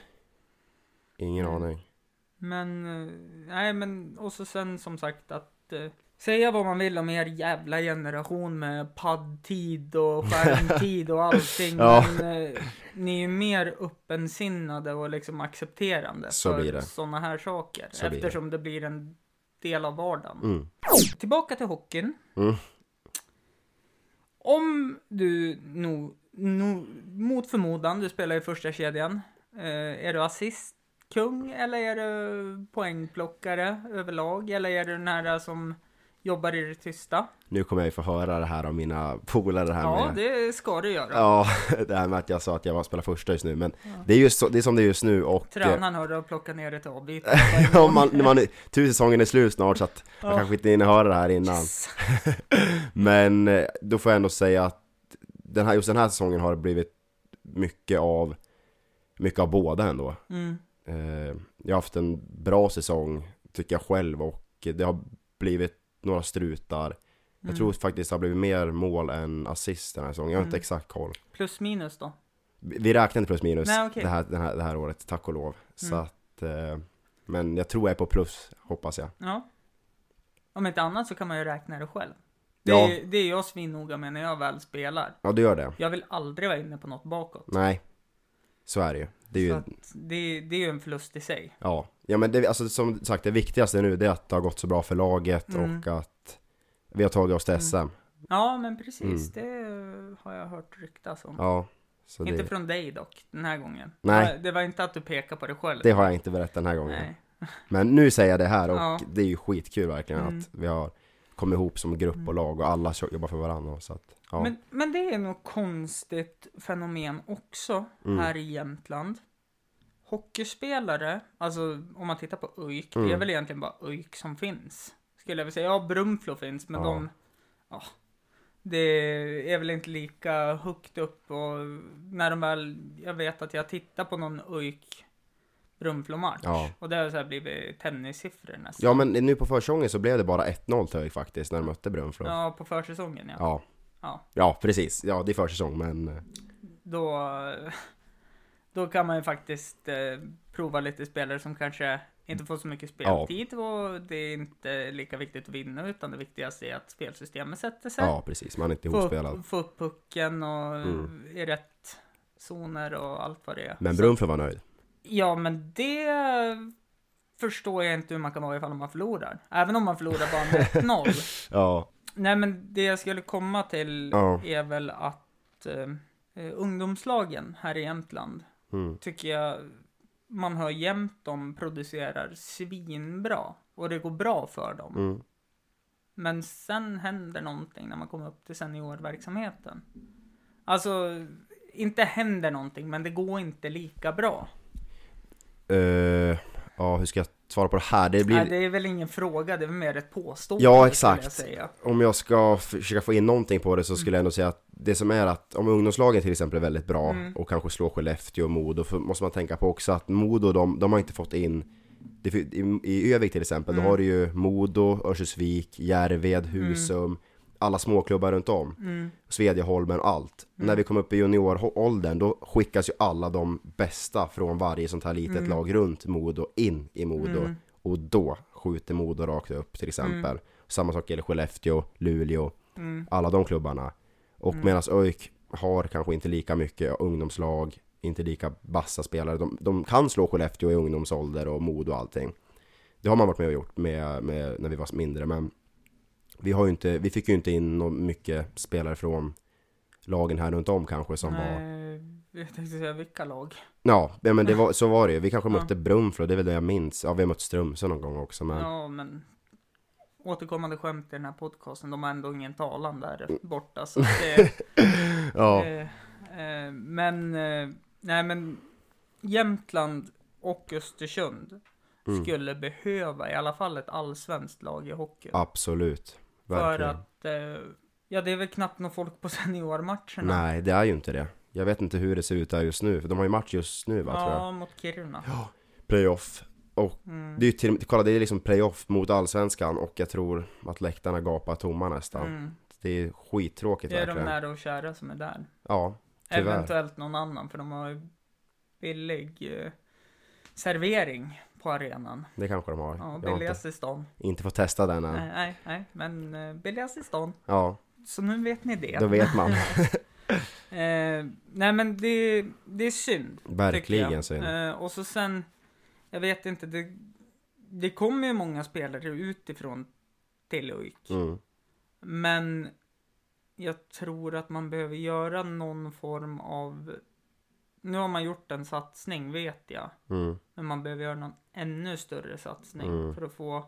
Ingen
Nej.
aning.
Men, eh, nej men, och så sen som sagt att eh, Säga vad man vill om er jävla generation med paddtid
[laughs]
och skärmtid och allting.
Ja.
Men eh, ni är ju mer öppensinnade och liksom accepterande
Så blir
för
det.
sådana här saker.
Så blir det.
eftersom det. blir en del av vardagen.
Mm.
Tillbaka till hockeyn.
Mm.
Om du no, no, mot förmodan, du spelar i första kedjan. Eh, är du assistkung eller är du poängplockare överlag? Eller är du den här som jobbar i det tysta?
Nu kommer jag ju få höra det här av mina polare det här
Ja,
med
det ska du göra.
Ja, [laughs] det här med att jag sa att jag var spelar första just nu, men det är ju så, det är som det är just nu och eh,
Tränaren hörde och plockade ner ett avbyte.
[laughs] ja, man, när man, tursäsongen är slut snart så att man
Ja.
kanske inte hinner höra det här innan.
Yes.
Men eh, då får jag ändå säga att den här, just den här säsongen har det blivit mycket av, mycket av båda ändå.
Mm.
Eh, jag har haft en bra säsong, tycker jag själv, och det har blivit några strutar. Jag
Mm.
tror faktiskt det har blivit mer mål än assist den här säsongen, jag har inte
Mm.
exakt koll.
Plus minus då.
Vi vi räknar inte plus minus
Nej, okej.
det, här, det, här, det här året, tack och lov. Så
Mm.
att, eh, men jag tror jag är på plus, hoppas jag.
Ja. Om inte annat så kan man ju räkna det själv. Det,
Ja.
är, det är jag svinnoga med när jag väl spelar.
Ja, du gör det?
Jag vill aldrig vara inne på något bakåt.
Nej. Så är det ju. Det är
Så
ju,
att det, det är ju en förlust i sig.
ja. Ja men det, alltså, som sagt, det viktigaste nu det är att det har gått så bra för laget
Mm.
och att vi har tagit oss till SM.
Ja, men precis. Det har jag hört ryktas om.
Mm. Ja. Så
inte
det,
från dig dock, den här gången.
Nej.
Det var inte att du pekade på det själv.
det har jag inte berättat den här gången.
Nej.
Men nu säger jag det här och
Ja.
det är ju skitkul verkligen
Mm.
att vi har kommit ihop som grupp och lag och alla jobbar för varandra. Så att, ja.
Men, men det är något konstigt fenomen också
Mm.
här i Jämtland. Hockeyspelare, alltså om man tittar på UIK, det är
Mm.
väl egentligen bara UIK som finns. Skulle jag vilja säga. Ja, Brunflo finns, men
Ja.
de... Ja, det är väl inte lika högt upp och när de väl... Jag vet att jag tittar på någon UIK Brunflo-match.
Ja.
Och det har så här blivit tennissiffror nästan.
Ja men nu på försäsongen så blev det bara 1-0 till ÖIK faktiskt när de mötte Brunflo. Ja.
Ja, på försäsongen ja.
ja.
ja.
precis. Ja, det är försäsong men... eh,
då, då kan man ju faktiskt eh, prova lite spelare som kanske inte får så mycket speltid och det är inte lika viktigt att vinna utan det viktigaste är att spelsystemet sätter sig.
Ja, precis. Man är inte
få,
ihopspelad.
upp, få upp pucken och
Mm.
i rätt zoner och allt vad det är.
Men
Så-
Brunflo var nöjd.
Ja, men det förstår jag inte hur man kan vara ifall man förlorar. Även om man förlorar bara
[laughs]
med 1-0.
Ja.
Nej men det jag skulle komma till
Ja.
är väl att eh, eh, ungdomslagen här i Jämtland
Mm.
tycker jag man hör jämt de producerar svinbra och det går bra för dem.
Mm.
Men sen händer någonting när man kommer upp till seniorverksamheten. Alltså, inte händer någonting men det går inte lika bra.
Eh, ja, hur ska jag svara på det här? Det blir...
Nej, det är väl ingen fråga, det är väl mer ett påstående
Ja,
skulle
exakt.
jag säga.
Om jag ska försöka få in någonting på det så skulle jag ändå säga att det som är att om ungdomslagen till exempel är väldigt bra
Mm.
och kanske slår Skellefteå och Modo så måste man tänka på också att Modo de, de har inte fått in det, fi- i, I Övik till exempel,
Mm.
då har du ju Modo, Örnsköldsvik, Järved, Husum, alla småklubbar runt om.
Mm,
Svedjeholmen och allt. När vi kom upp i junioråldern då skickas ju alla de bästa från varje sånt här litet lag runt Modo in i Modo.
Mm.
Och då skjuter Modo rakt upp till exempel. Samma sak gäller Skellefteå, Luleå,
mm,
alla de klubbarna. Och medan ÖIK har kanske inte lika mycket ungdomslag, inte lika bassa spelare. De, de kan slå Skellefteå i ungdomsålder och mod och allting. Det har man varit med och gjort med, med, när vi var mindre, men vi, har ju inte, vi fick ju inte in nå- mycket spelare från lagen här runt om kanske som var
Nej, jag tänkte säga vilka lag.
Ja, ja men det var, så var det ju. Vi kanske
Ja.
mötte Brunflo, det är väl det jag minns. Ja, vi har mött Strömsö någon gång också, men
Ja, men återkommande skämt i den här podcasten, de har ändå ingen talan där borta. Så att det,
ja.
Eh, eh, men, eh, nej men Jämtland och Östersund
Mm.
skulle behöva i alla fall ett allsvenskt lag i hockey.
absolut.
för
Verkligen.
att, eh, ja det är väl knappt någon folk på [laughs] seniormatcherna.
Nej, det är ju inte det. Jag vet inte hur det ser ut där just nu, för de har ju match just nu va, tror jag.
ja, mot Kiruna.
Playoff. Och
Mm.
det är ju till, kolla, det är liksom playoff mot allsvenskan och jag tror att läktarna gapar tomma nästan.
Mm.
Det är skittråkigt
Det är de
verkligen.
nära och kära som är där.
Ja, Tyvärr.
Eventuellt någon annan, för de har ju billig eh, servering på arenan.
det kanske de
Ja,
har. jag har inte,
billigast i stan.
inte fått testa den än.
Nej, nej, nej, men eh, billigast i stan.
Ja,
Så nu vet ni det.
då vet
[laughs]
man.
Eh, nej men det, det är synd. tycker
Verkligen
jag.
synd.
Eh, och så sen, jag vet inte, det, det kommer ju många spelare utifrån till UIK.
Mm.
Men jag tror att man behöver göra någon form av, nu har man gjort en satsning vet jag,
Mm.
men man behöver göra någon ännu större satsning
Mm.
för att få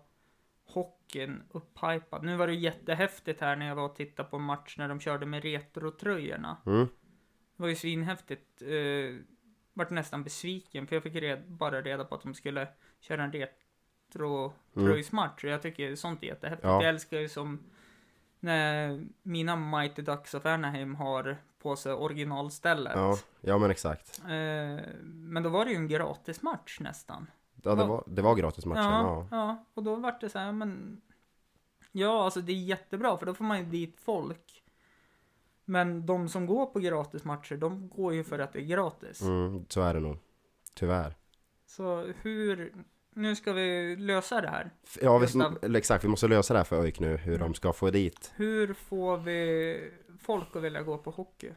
hockeyn upphypad. Nu var det jättehäftigt här när jag var och tittade på en match när de körde med retrotröjorna.
Mm.
Det var ju svinhäftigt. Uh, vart nästan besviken för jag fick red, bara reda på att de skulle köra en retro-tröjsmatch. Och jag tycker sånt är jättehäftigt.
Mm. Ja.
Jag älskar ju som när mina Mighty Ducks of Anaheim har på sig originalstället.
Ja, ja, men exakt.
Eh, men då var det ju en gratismatch nästan.
Ja, det
Ja.
var, det var gratismatchen.
ja,
Ja.
ja, och då vart det så här, men... Ja, alltså det är jättebra för då får man ju dit folk. Men de som går på gratismatcher, de går ju för att det är gratis.
Mm, så är det nog. Tyvärr.
Så hur... Nu ska vi lösa det här.
F- Ja, vi,
Gustav.
eller exakt. Vi måste lösa det här för ÖIK nu, hur
Mm.
de ska få dit.
Hur får vi folk att vilja gå på hockey?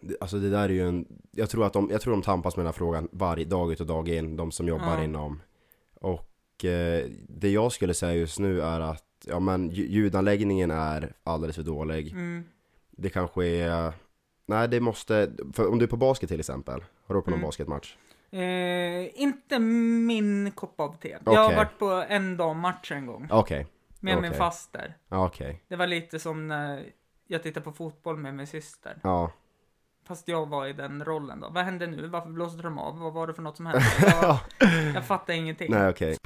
Det- Alltså det där är ju en... Jag tror att de, jag tror de tampas med den här frågan varje dag ut och dag in, de som jobbar
Ja.
inom. Och eh, det jag skulle säga just nu är att, ja men lj- ljudanläggningen är alldeles för dålig.
Mm.
Det kanske är... Nej, det måste... För om du är på basket till exempel, har du varit på någon
Mm.
basketmatch?
Eh, inte min kopp av te. Jag har
Okej.
varit på en dagmatch en gång
Okej,
med min
okej.
faster.
ja okej.
Det var lite som när jag tittade på fotboll med min syster.
Ja.
Fast jag var i den rollen då. Vad hände nu? Varför blåste de av? Vad var det för något som
[laughs]
hände? Jag, jag fattar ingenting.
Nej okej.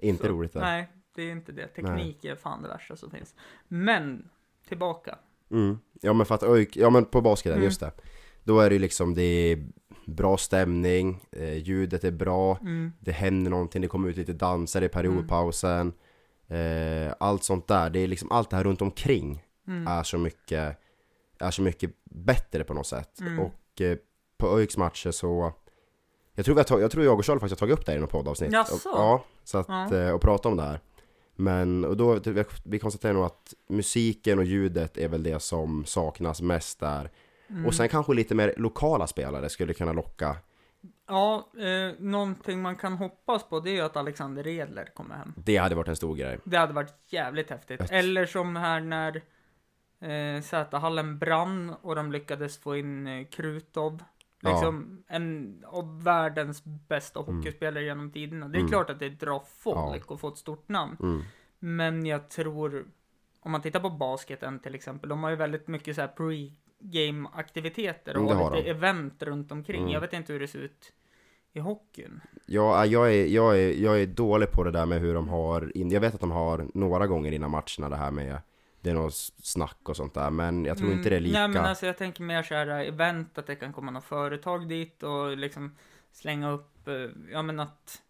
Inte
Så-
roligt där.
Nej, det är inte det. Teknik är fan det värsta som finns. Men, tillbaka.
Mm. Ja men för att ÖIK, ja men på basketen,
Mm.
just det. Då är det ju liksom, det är bra stämning, eh, ljudet är bra,
Mm.
det händer någonting, det kommer ut lite danser i
Mm.
periodpausen. Eh, allt sånt där, det är liksom allt det här runt omkring
Mm.
är så mycket, är så mycket bättre på något sätt.
Mm.
Och eh, på ÖIKs matcher så, jag tror, vi har tag, jag, tror jag och Charlie faktiskt har tagit upp det här i något poddavsnitt.
Jaså?
Och, ja, så att,
Ja.
eh, och prata om det här. Men, och då, vi- vi konstaterar nog att musiken och ljudet är väl det som saknas mest där.
Mm.
Och sen kanske lite mer lokala spelare skulle kunna locka.
Ja, eh, någonting man kan hoppas på det är ju att Alexander Edler kommer hem.
Det hade varit en stor grej.
Det hade varit jävligt häftigt.
Ett-
Eller som här när eh, Z-hallen brann och de lyckades få in eh, Krutov. Liksom en av världens bästa hockeyspelare genom tiderna. Det är
Mm.
klart att det drar folk och får ett stort namn.
Mm.
Men jag tror, om man tittar på basketen till exempel, de har ju väldigt mycket så här pre-game aktiviteter och
Mm, det
har
har
lite
de.
event runt omkring.
Mm.
Jag vet inte hur det ser ut i hockeyn.
Ja, äh, jag är, jag, är, jag är dålig på det där med hur de har, in, jag vet att de har några gånger innan matcherna det här med, det är något snack och sånt där, men jag tror inte det är lika.
Nej men alltså jag tänker mer så här eh, event, att det kan komma något företag dit och liksom slänga upp, eh, ja men att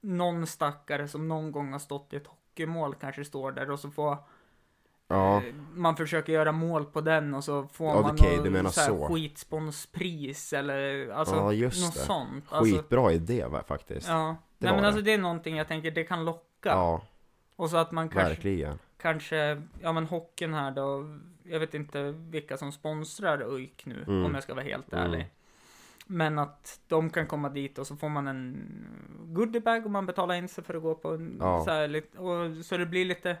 någon stackare som någon gång har stått i ett hockeymål kanske står där och så får
ja.
eh, man försöker göra mål på den och så får
Ja,
man
okej,
någon
du menar
så här
så.
skitsponspris eller alltså
Ja, just
något
det.
sånt. Alltså,
Skitbra idé va, faktiskt. Ja,
ja.
Det
Nej
var
men
det.
alltså det är någonting jag tänker, det kan locka. Och så att man kanske
verkligen.
kanske, ja men hockeyn här då, jag vet inte vilka som sponsrar UIK nu
Mm.
om jag ska vara helt
Mm.
ärlig. Men att de kan komma dit och så får man en goodiebag och man betalar in sig för att gå på en
Ja.
så, här, lite- och, så det blir lite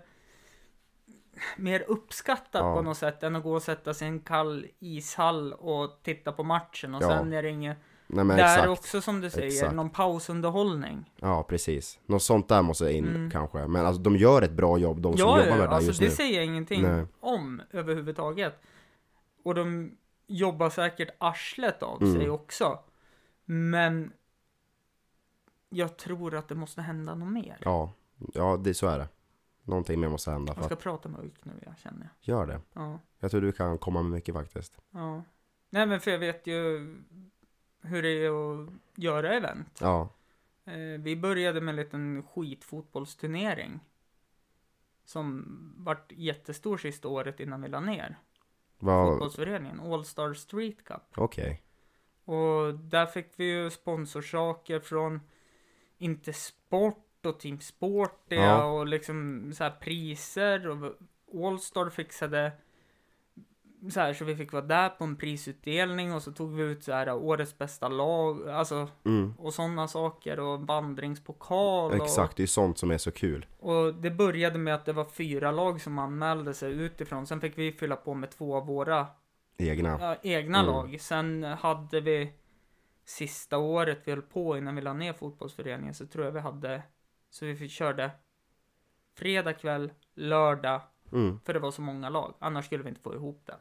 mer uppskattat
Ja.
på något sätt än att gå och sätta sig i en kall ishall och titta på matchen och
Ja.
sen är det ingen
Nej men
Där
exakt.
också som du säger,
Exakt.
någon pausunderhållning.
Ja precis. Något sånt där måste in
Mm.
kanske. Men alltså de gör ett bra jobb de som jobbar med det där
alltså
just
det
nu.
säger jag ingenting
Nej.
om överhuvudtaget. Och de jobbar säkert arslet av
Mm.
sig också. Men jag tror att det måste hända något mer.
Ja, ja det, så är det. Någonting mer måste hända för
Jag
att
ska prata med Ujk nu, jag känner jag.
göra det.
Ja,
Jag tror du kan komma med mycket faktiskt.
ja. Nej men för jag vet ju hur det är att göra event.
Ja,
Eh, vi började med en liten skitfotbollsturnering. Som vart jättestor sista året innan vi la ner.
vad,
Fotbollsföreningen, All Star Street Cup.
okej.
Och där fick vi ju sponsorsaker från inte sport och Team Sportia
Ja.
och liksom så här priser och Allstar fixade så här så vi fick vara där på en prisutdelning och så tog vi ut så här årets bästa lag, alltså
Mm.
och sådana saker och en vandringspokal och-
Exakt, det är ju sånt som är så kul.
och det började med att det var fyra lag som anmälde sig utifrån. Sen fick vi fylla på med två av våra
Egna.
ja, egna
Mm.
lag. Sen hade vi sista året vi höll på innan vi la ner fotbollsföreningen så tror jag vi hade så vi fick- körde fredag kväll, lördag,
Mm.
för det var så många lag. Annars skulle vi inte få ihop det.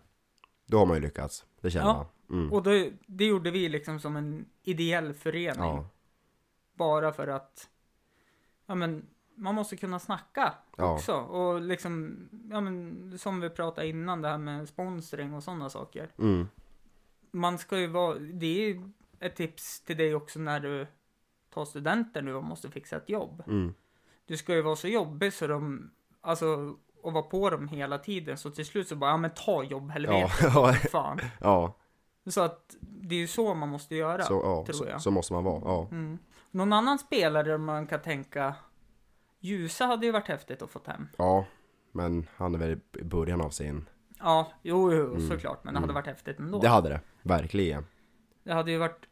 Då har man ju lyckats. Det känner
Ja.
man. Mm.
Och det, det gjorde vi liksom som en ideell förening.
Ja,
Bara för att ja, men, man måste kunna snacka
Ja.
också. Och liksom, ja, men, som vi pratade innan, det här med sponsring och sådana saker.
mm.
Man ska ju vara, det är ju ett tips till dig också när du tar studenter nu och måste fixa ett jobb.
Mm.
Du ska ju vara så jobbig så de, alltså, och vara på dem hela tiden. Så till slut så bara, ja men ta jobb
ja,
helvete.
[laughs] ja,
Fan.
ja.
Så att det är ju så man måste göra.
Så, ja.
tror
Så,
jag.
så måste man vara. Ja.
Mm. Någon annan spelare man kan tänka Ljusa hade ju varit häftigt att få hem.
ja, men han är väl i början av sin...
Ja, jo, jo
Mm.
såklart, men det hade
Mm.
varit häftigt ändå.
Det
Det,
hade det, verkligen.
hade ju varit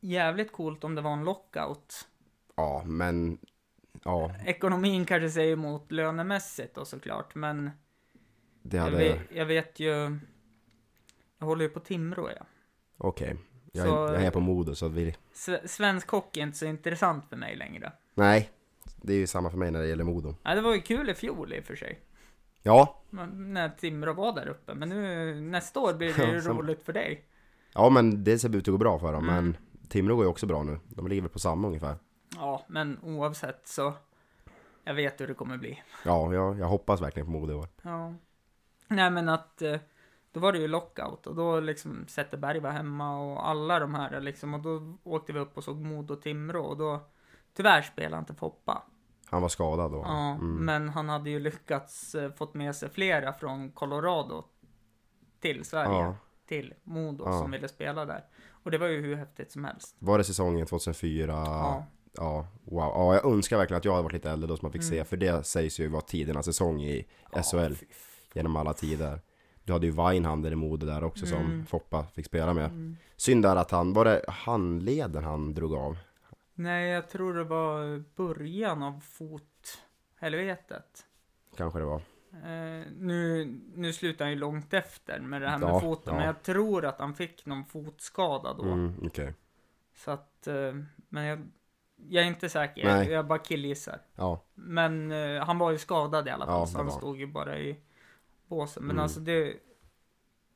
jävligt coolt om det var en lockout.
Ja, men... Ja,
Ekonomin kanske säger emot lönemässigt då såklart, men
det
jag,
hade...
vet, jag vet ju. Jag håller ju på Timrå ja.
Okej. Jag, är-
Så-
jag är på Modo så att vi...
Sve- Svensk hockey är inte så intressant för mig längre.
Nej, det är ju samma för mig när det gäller Modo.
Ja, det var ju kul i fjol i och för sig.
Ja,
men- När Timrå var där uppe, men nu nästa år blir det
Ja,
ju
som-
roligt för dig.
ja men det ser ut att gå bra för dem,
Mm.
men Timrå går ju också bra nu. De ligger väl på samma ungefär.
Ja, men oavsett så. Jag vet hur det kommer bli.
Ja, jag, jag hoppas verkligen på Modo i år.
Ja. Nej, men att eh, då var det ju lockout och då liksom Zetterberg var hemma och alla de här liksom och då åkte vi upp och såg Modo och Timrå och då tyvärr spelade inte Foppa.
Han var skadad då.
Ja,
Mm.
men han hade ju lyckats eh, fått med sig flera från Colorado till Sverige,
Ja.
till Modo
Ja.
som ville spela där. Och det var ju hur häftigt som helst.
Var det säsongen 2004?
Ja.
Ja. wow. Ja, jag önskar verkligen att jag hade varit lite äldre då så man fick se, för det sägs ju vara tidernas säsong i SHL
Mm. fy
genom alla tider. Du hade ju Weinhander i Modo där också som
Mm.
Foppa fick spela med. Synd där att han, var det handleden han drog av?
Nej, jag tror det var början av fothelvetet.
Kanske det var.
Eh, nu, nu slutar han ju långt efter med det här med
Ja,
foten,
ja.
men jag tror att han fick någon fotskada då.
Mm, Okej.
Så att, eh, men jag, jag är inte säker, jag,
Nej.
jag bara killgissar.
Ja,
Men eh, han var ju skadad i alla fall,
Ja,
så
det
han
var han.
stod ju bara i båsen. Men
Mm.
alltså det,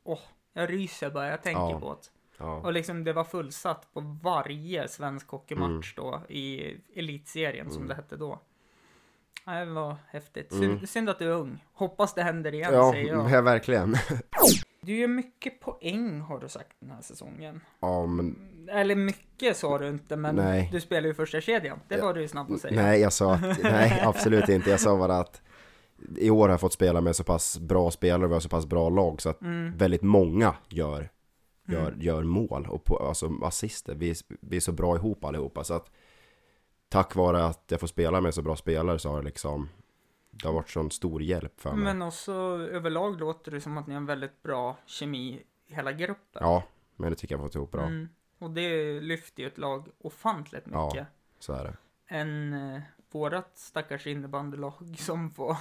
åh, jag ryser bara jag tänker
Ja.
på det.
ja.
Och liksom det var fullsatt på varje svensk hockeymatch då i elitserien som
Mm.
det hette då. Ja, det var häftigt.
Mm.
Synd, synd att du är ung. Hoppas det händer igen
Ja,
säger jag.
[laughs] ja, verkligen.
Du gör mycket poäng har du sagt den här säsongen.
Ja, men,
Eller mycket sa du inte men
Nej.
du spelar ju första kedjan. Det
Ja.
var du ju snabb att säga.
nej, jag sa
[laughs]
att, nej, absolut inte. Jag sa bara att i år har jag fått spela med så pass bra spelare och vi har så pass bra lag så att
Mm.
väldigt många gör, gör,
Mm.
gör mål och på, alltså assister. Vi, är- vi är så bra ihop allihopa så att tack vare att jag får spela med så bra spelare så har det liksom det har varit sån stor hjälp för mig.
Men också överlag låter det som att ni har en väldigt bra kemi i hela gruppen.
Ja, men det tycker jag har fått ihop bra.
Mm. Och det lyfter ju ett lag ofantligt
Ja.
mycket.
Så är det.
Än eh, vårat stackars innebandylag [laughs] som får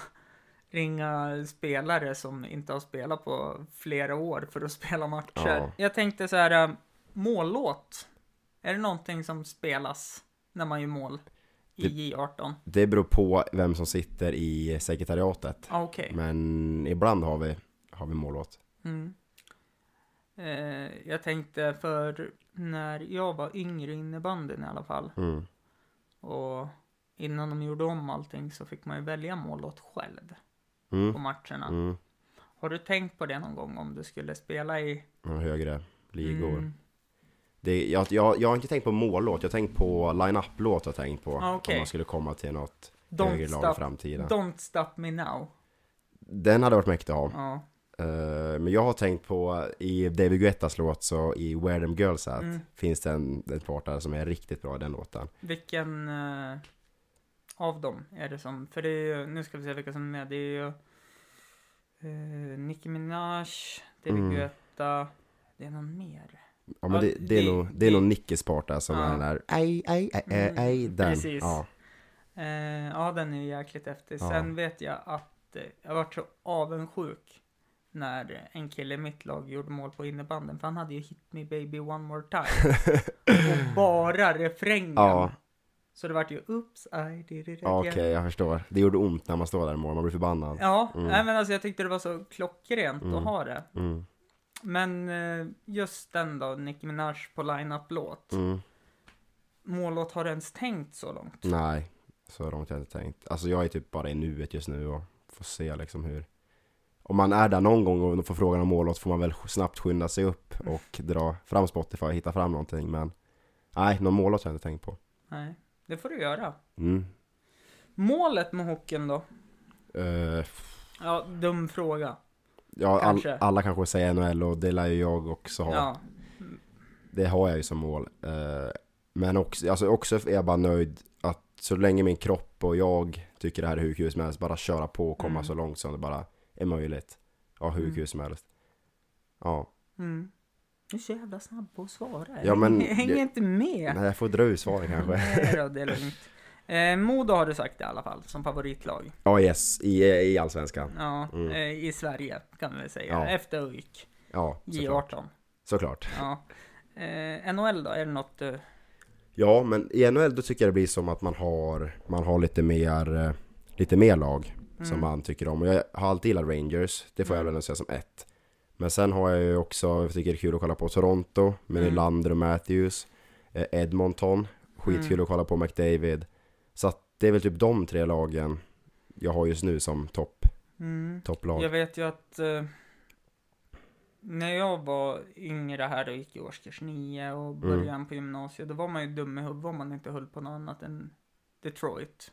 ringa spelare som inte har spelat på flera år för att [laughs] spela matcher.
Ja.
Jag tänkte så här, eh, mållåt. Är det någonting som spelas när man gör mål i
Typ.
J18?
Det beror på vem som sitter i sekretariatet.
Ah, Okej.
Men ibland har vi, har vi mållåt.
Mm. Eh, jag tänkte för när jag var yngre i innebandyn i alla fall
Mm.
och innan de gjorde om allting så fick man ju välja mållåt själv på
Mm.
matcherna.
Mm.
Har du tänkt på det någon gång om du skulle spela i...
Och högre ligor.
Mm,
Det, jag, jag, jag har inte tänkt på mållåt, jag har tänkt på line-up-låt. Jag har tänkt på
Ah, okej.
om man skulle komma till något högre
don't,
lag i
stop,
framtiden.
don't stop me now.
Den hade varit mäktig att ha.
Ja.
Eh, men jag har tänkt på i David Guettas låt, så i Where Them Girls At,
Mm.
finns det en, en part där som är riktigt bra i den låten.
Vilken eh, av dem är det som... För det är ju, nu ska vi se vilka som är med. Det är ju eh, Nicki Minaj, David
Mm.
Guetta. Det är någon mer.
Ja men
Ja,
det, det är
det-
nog, det är nog Nickes part där som
Ja.
är den där aj, aj, aj, aj, aj,
Mm,
den.
precis.
Ja.
Eh, ja, den är ju jäkligt häftig.
Ja.
Sen vet jag att eh, jag vart så avundsjuk när en kille i mitt lag gjorde mål på innebanden för han hade ju Hit Me Baby One More
[laughs]
Time och bara refrängen.
Ja.
Så det vart ju Oops I did it
Ja,
again.
Okej, jag förstår. Det gjorde ont när man står där i morgon, man blir förbannad.
Ja,
Mm.
nej, men alltså jag tyckte det var så klockrent
Mm.
att ha det.
Mm,
Men eh, just den då, Nicki Minaj på line-up-låt.
mm.
Mållåt har du ens tänkt så långt?
Nej, så långt har jag inte tänkt. Alltså jag är typ bara i nuet just nu och får se liksom hur om man är där någon gång och får frågan om mållåt får man väl snabbt skynda sig upp och dra fram Spotify och hitta fram någonting men Nej, någon mållåt har jag inte tänkt på.
Nej, det får du göra.
Mm.
Målet med hockeyn då?
Eh,
Ja, dum fråga.
ja, all,
Kanske.
alla kanske säger NHL och det lär ju jag också ha.
Ja.
Det har jag ju som mål. Eh, Men också, alltså också är jag bara nöjd att så länge min kropp och jag tycker det här är hur kul som helst, bara köra på och komma
Mm.
så långt som det bara är möjligt. Ja, hur
Mm.
kul som helst. Ja,
Mm. Du är så jävla snabb på att svara.
Ja, men-
jag hänger
det-
inte med.
nej, jag får dra ur svaren kanske.
Nej då, det är lugnt. Eh, Modo har du sagt i alla fall, som favoritlag.
Ja, yes, i, i Allsvenskan.
Ja,
Mm.
eh, i Sverige kan vi väl säga.
Ja.
Efter UIK.
Ja, såklart.
J18.
såklart.
Ja. Eh, NHL då, är det något du...
Ja, men i NHL då tycker jag det blir som att man har, man har lite mer, eh, lite mer lag
Mm.
som man tycker om. Och jag har alltid gillat Rangers, det får jag väl ändå säga som ett. Men sen har jag ju också, jag tycker det är kul att kolla på Toronto med
Mm.
Nylander och Matthews, eh, Edmonton, skitkul
Mm.
att kolla på McDavid. Så att det är väl typ de tre lagen jag har just nu som topp,
Mm.
topplag.
Jag vet ju att eh, när jag var yngre här och gick i årskurs 9
Mm.
och början på gymnasiet, då var man ju dum i huvudet om man inte höll på något annat än Detroit.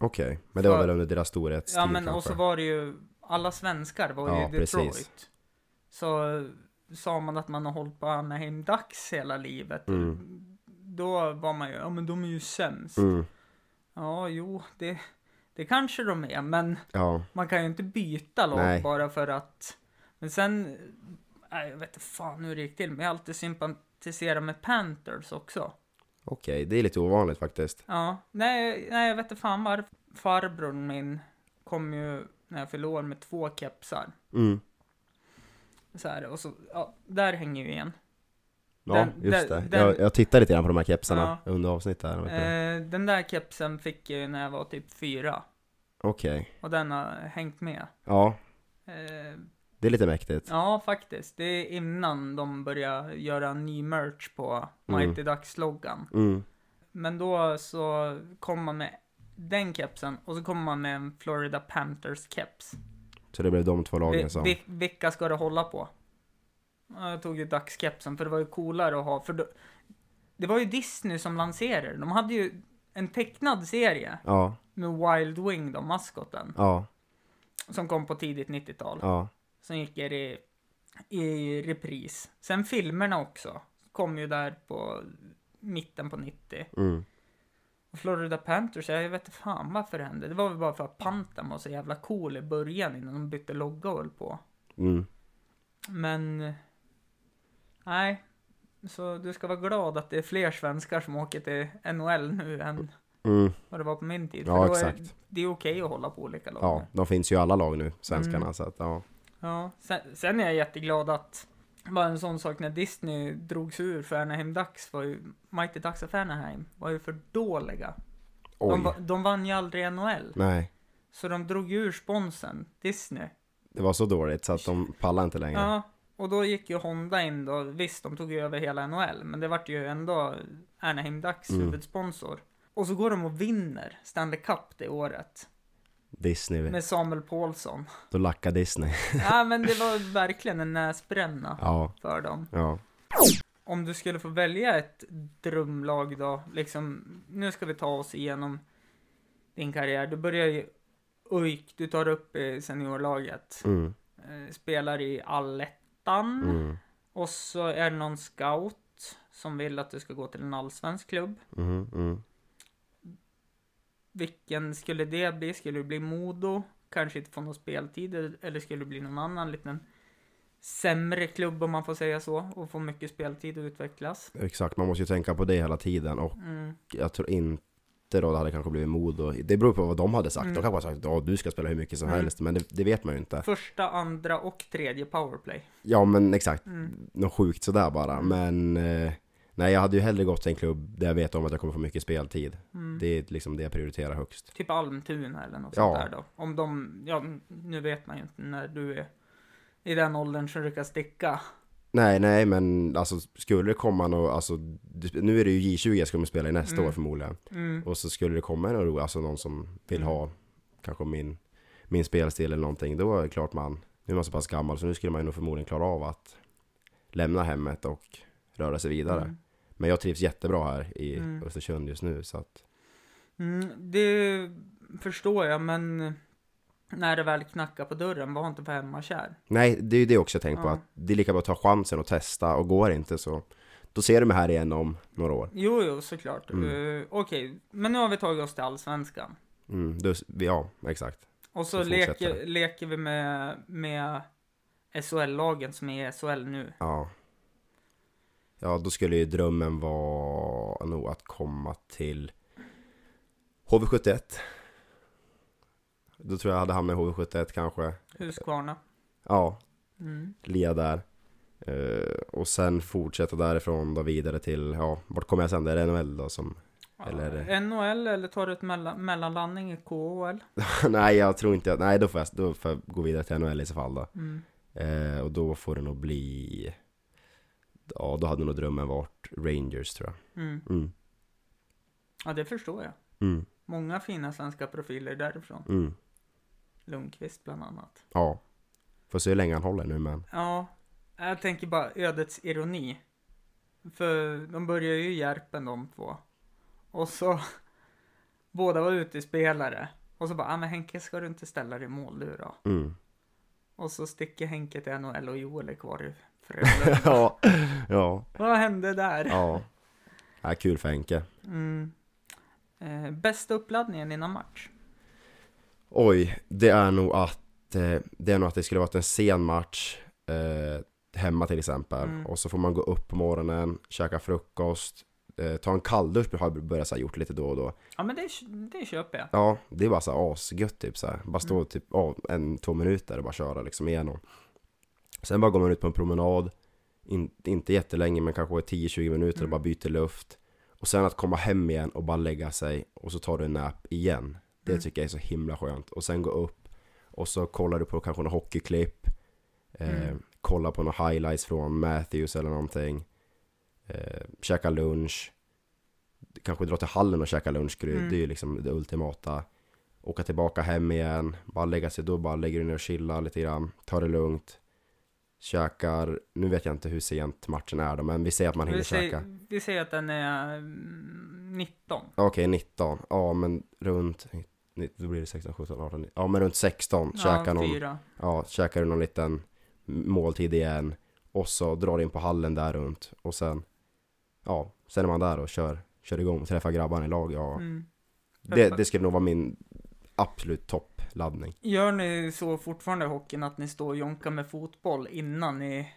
Okej, men det var
För-
väl under deras storhetstid
Ja men
kanske.
och så var det ju, alla svenskar var ju
Ja,
i Detroit.
precis.
Så eh, sa man att man har hållit på Anaheim Ducks hela livet. Då var man ju, ja men de är ju sämst.
mm,
Ja jo, det, det kanske de är. Men
ja,
man kan ju inte byta lag
Nej.
bara för att. Men sen, nej, jag vet inte fan hur det gick till. Men jag har alltid sympatiserat med Panthers också.
okej, det är lite ovanligt faktiskt.
Ja, nej, nej jag vet inte fan varför. Farbror min kom ju när jag fyllde år med två kepsar.
Mm.
Så här, och så, ja, där hänger vi igen.
Ja,
Den-
just
den-
det. Jag,
den-
jag tittade lite grann på de här kepsarna under avsnittet här. vet du.
Eh, den där kepsen fick jag ju när jag var typ fyra.
Okej,
Och den har hängt med.
ja,
Eh,
det är lite mäktigt.
ja, faktiskt. Det är innan de började göra ny merch på Mighty Ducks-loggan.
Mm.
Men då så kom man med den kepsen och så kom man med en Florida Panthers-keps.
Så det blev de två
Vi,
lagen som...
vi, vilka ska du hålla på? Ja, Jag tog ju dagskepsen för det var ju coolare att ha. För då, det var ju Disney som lanserade De hade ju en tecknad serie
Ja,
med Wild Wing, då, maskoten,
ja,
som kom på tidigt 90-tal.
ja,
Som gick i, i repris. Sen filmerna också. Kom ju där på mitten på 90.
mm.
Och Florida Panthers, jag vet inte fan varför det hände. Det var väl bara för att Pantan var så jävla cool i början innan de bytte logga och höll på.
Mm.
Men... Nej. Så du ska vara glad att det är fler svenskar som åker till NHL nu än
Mm.
vad det var på min tid.
Ja,
då Är,
exakt.
det är okej att hålla på olika lag.
Ja,
nu.
de finns ju i alla lag nu, svenskarna.
Mm.
Så att, ja.
Ja, sen, sen är jag jätteglad att bara en sån sak när Disney drogs ur för Anaheim Ducks var ju Mighty Ducks of Anaheim var ju för dåliga.
Oj.
De, va- de vann ju aldrig NHL.
Nej,
Så de drog ur sponsen Disney.
det var så dåligt så att de pallar inte längre.
Ja, och då gick ju Honda in då. Visst, de tog ju över hela NHL, men det vart ju ändå Anaheim Ducks
Mm.
huvudsponsor. Och så går de och vinner Stanley Cup det året
Disney,
med Samuel Paulsson. [laughs]
då lackar Disney. [laughs]
Ja, men det var verkligen en näsbränna
Ja,
för dem.
ja.
Om du skulle få välja ett drömlag då, liksom, nu ska vi ta oss igenom din karriär. Du börjar i UIK, du tar upp i seniorlaget,
Mm,
eh, spelar i allettan
mm,
och så är det någon scout som vill att du ska gå till en allsvensk klubb.
mm, mm.
Vilken skulle det bli? Skulle det bli Modo? Kanske inte få någon speltid eller skulle det bli någon annan liten sämre klubb om man får säga så och få mycket speltid och utvecklas?
Exakt, man måste ju tänka på det hela tiden och
Mm.
jag tror inte då det hade kanske blivit Modo. Det beror på vad de hade sagt.
Mm.
De kanske hade sagt ja du ska spela hur mycket som
Mm.
helst, men det, det vet man ju inte.
Första, andra och tredje powerplay.
Ja men exakt,
Mm.
något sjukt sådär bara.
Mm.
Men eh, nej, jag hade ju hellre gått till en klubb där jag vet om att jag kommer få mycket speltid.
Mm.
Det är liksom det jag prioriterar högst.
Typ Almtuna eller något
Ja.
sånt där då. Om de, ja nu vet man ju inte när du är i den åldern som du kan sticka.
Nej, nej, men alltså skulle det komma något, alltså du- nu är det ju J20 jag ska spela i nästa
Mm.
år förmodligen.
Mm.
Och så skulle det komma en oro, alltså någon som vill
Mm.
ha kanske min, min spelstil eller någonting. Då är det klart man, nu är man så pass gammal så nu skulle man ju nog förmodligen klara av att lämna hemmet och röra sig vidare.
Mm.
Men jag trivs jättebra här i
Mm.
Östersund just nu så att
Mm, det förstår jag, men när det väl knackar på dörren, var inte för hemmakär.
Nej, det är ju det också jag tänkt på
Ja.
att det är lika bra att ta chansen och testa och går det inte så då ser du mig här igen om några år.
Jo, jo, såklart.
Mm.
Eh, Okej, men nu har vi tagit oss till Allsvenskan.
Mm, då, ja, exakt.
Och så
Så fortsätter
leker, leker vi med, med SHL-lagen som är i SHL nu.
Ja. Ja, då skulle ju drömmen vara nog att komma till HV71. Då tror jag jag hade hamnat i HV71 kanske.
Huskvarna.
Ja,
Mm.
lia där. Eh, och sen fortsätta därifrån då vidare till, ja, vart kommer jag sen? Det är NHL då som... [laughs] Eller-
Ja, NHL eller tar du ett mellan, mellanlandning i KHL?
nej, jag tror inte jag... Nej, då får jag, då får jag gå vidare till NHL i så fall då.
Mm.
Eh, och då får det nog bli... Ja, då hade nog drömmen varit Rangers tror
Mm.
jag. Mm,
Ja, det förstår jag.
mm,
Många fina svenska profiler därifrån.
mm.
Lundqvist bland annat.
Ja. Får se hur länge han håller nu men.
Ja, jag tänker bara ödets ironi. För de börjar ju i Järpen de två. Och så, [laughs] båda var utespelare. Och så bara, ah, men Henke ska du inte ställa dig i mål du då?
Mm.
Och så sticker Henke till NHL och Joel är kvar i
[laughs]
Frölunda.
[laughs] ja. Ja.
Vad hände där?
Ja. Ja, kul för Henke.
Mm. Eh, bästa uppladdningen innan match?
Oj, det är nog att eh, det är nog att det skulle varit en sen match eh, hemma till exempel.
Mm.
Och så får man gå upp på morgonen, käka frukost, eh, ta en kalldusch har jag börjat så här, gjort lite då och då.
Ja men det, det Mm. köper jag.
Ja, det är bara så här asgött typ så här. Bara stå typ ja, en, två minuter och bara köra liksom igenom. Sen bara går man ut på en promenad, in, inte jättelänge men kanske 10-20 minuter och
Mm.
bara byter luft. Och sen att komma hem igen och bara lägga sig och så tar du en nap igen. Det
Mm.
tycker jag är så himla skönt. Och sen gå upp och så kollar du på kanske några hockeyklipp. Eh,
Mm.
Kolla på några highlights från Matthews eller någonting. Eh, käka lunch. Kanske dra till hallen och käka lunch. Det är ju-
Mm.
Det är ju liksom det ultimata. Åka tillbaka hem igen. Bara lägga sig. Då bara lägger du ner och chillar lite grann. Ta det lugnt. Käkar. Nu vet jag inte hur sent matchen är då. Men vi säger att man hinner
Vi
käka.
säger, vi säger att den är mm, 19.
Okej, 19. Ja, men runt... ni- Då blir det 16, 17, 18, 19. Ja, men runt 16. Käka
ja,
någon...
fyra.
Ja, käkar du någon liten måltid igen och så drar du in på hallen där runt och sen ja, sen är man där och kör, kör igång och träffar grabbarna i lag. Ja,
Mm.
det, det skulle nog vara min absolut toppladdning.
Gör ni så fortfarande i hockeyn att ni står och jonkar med fotboll innan ni...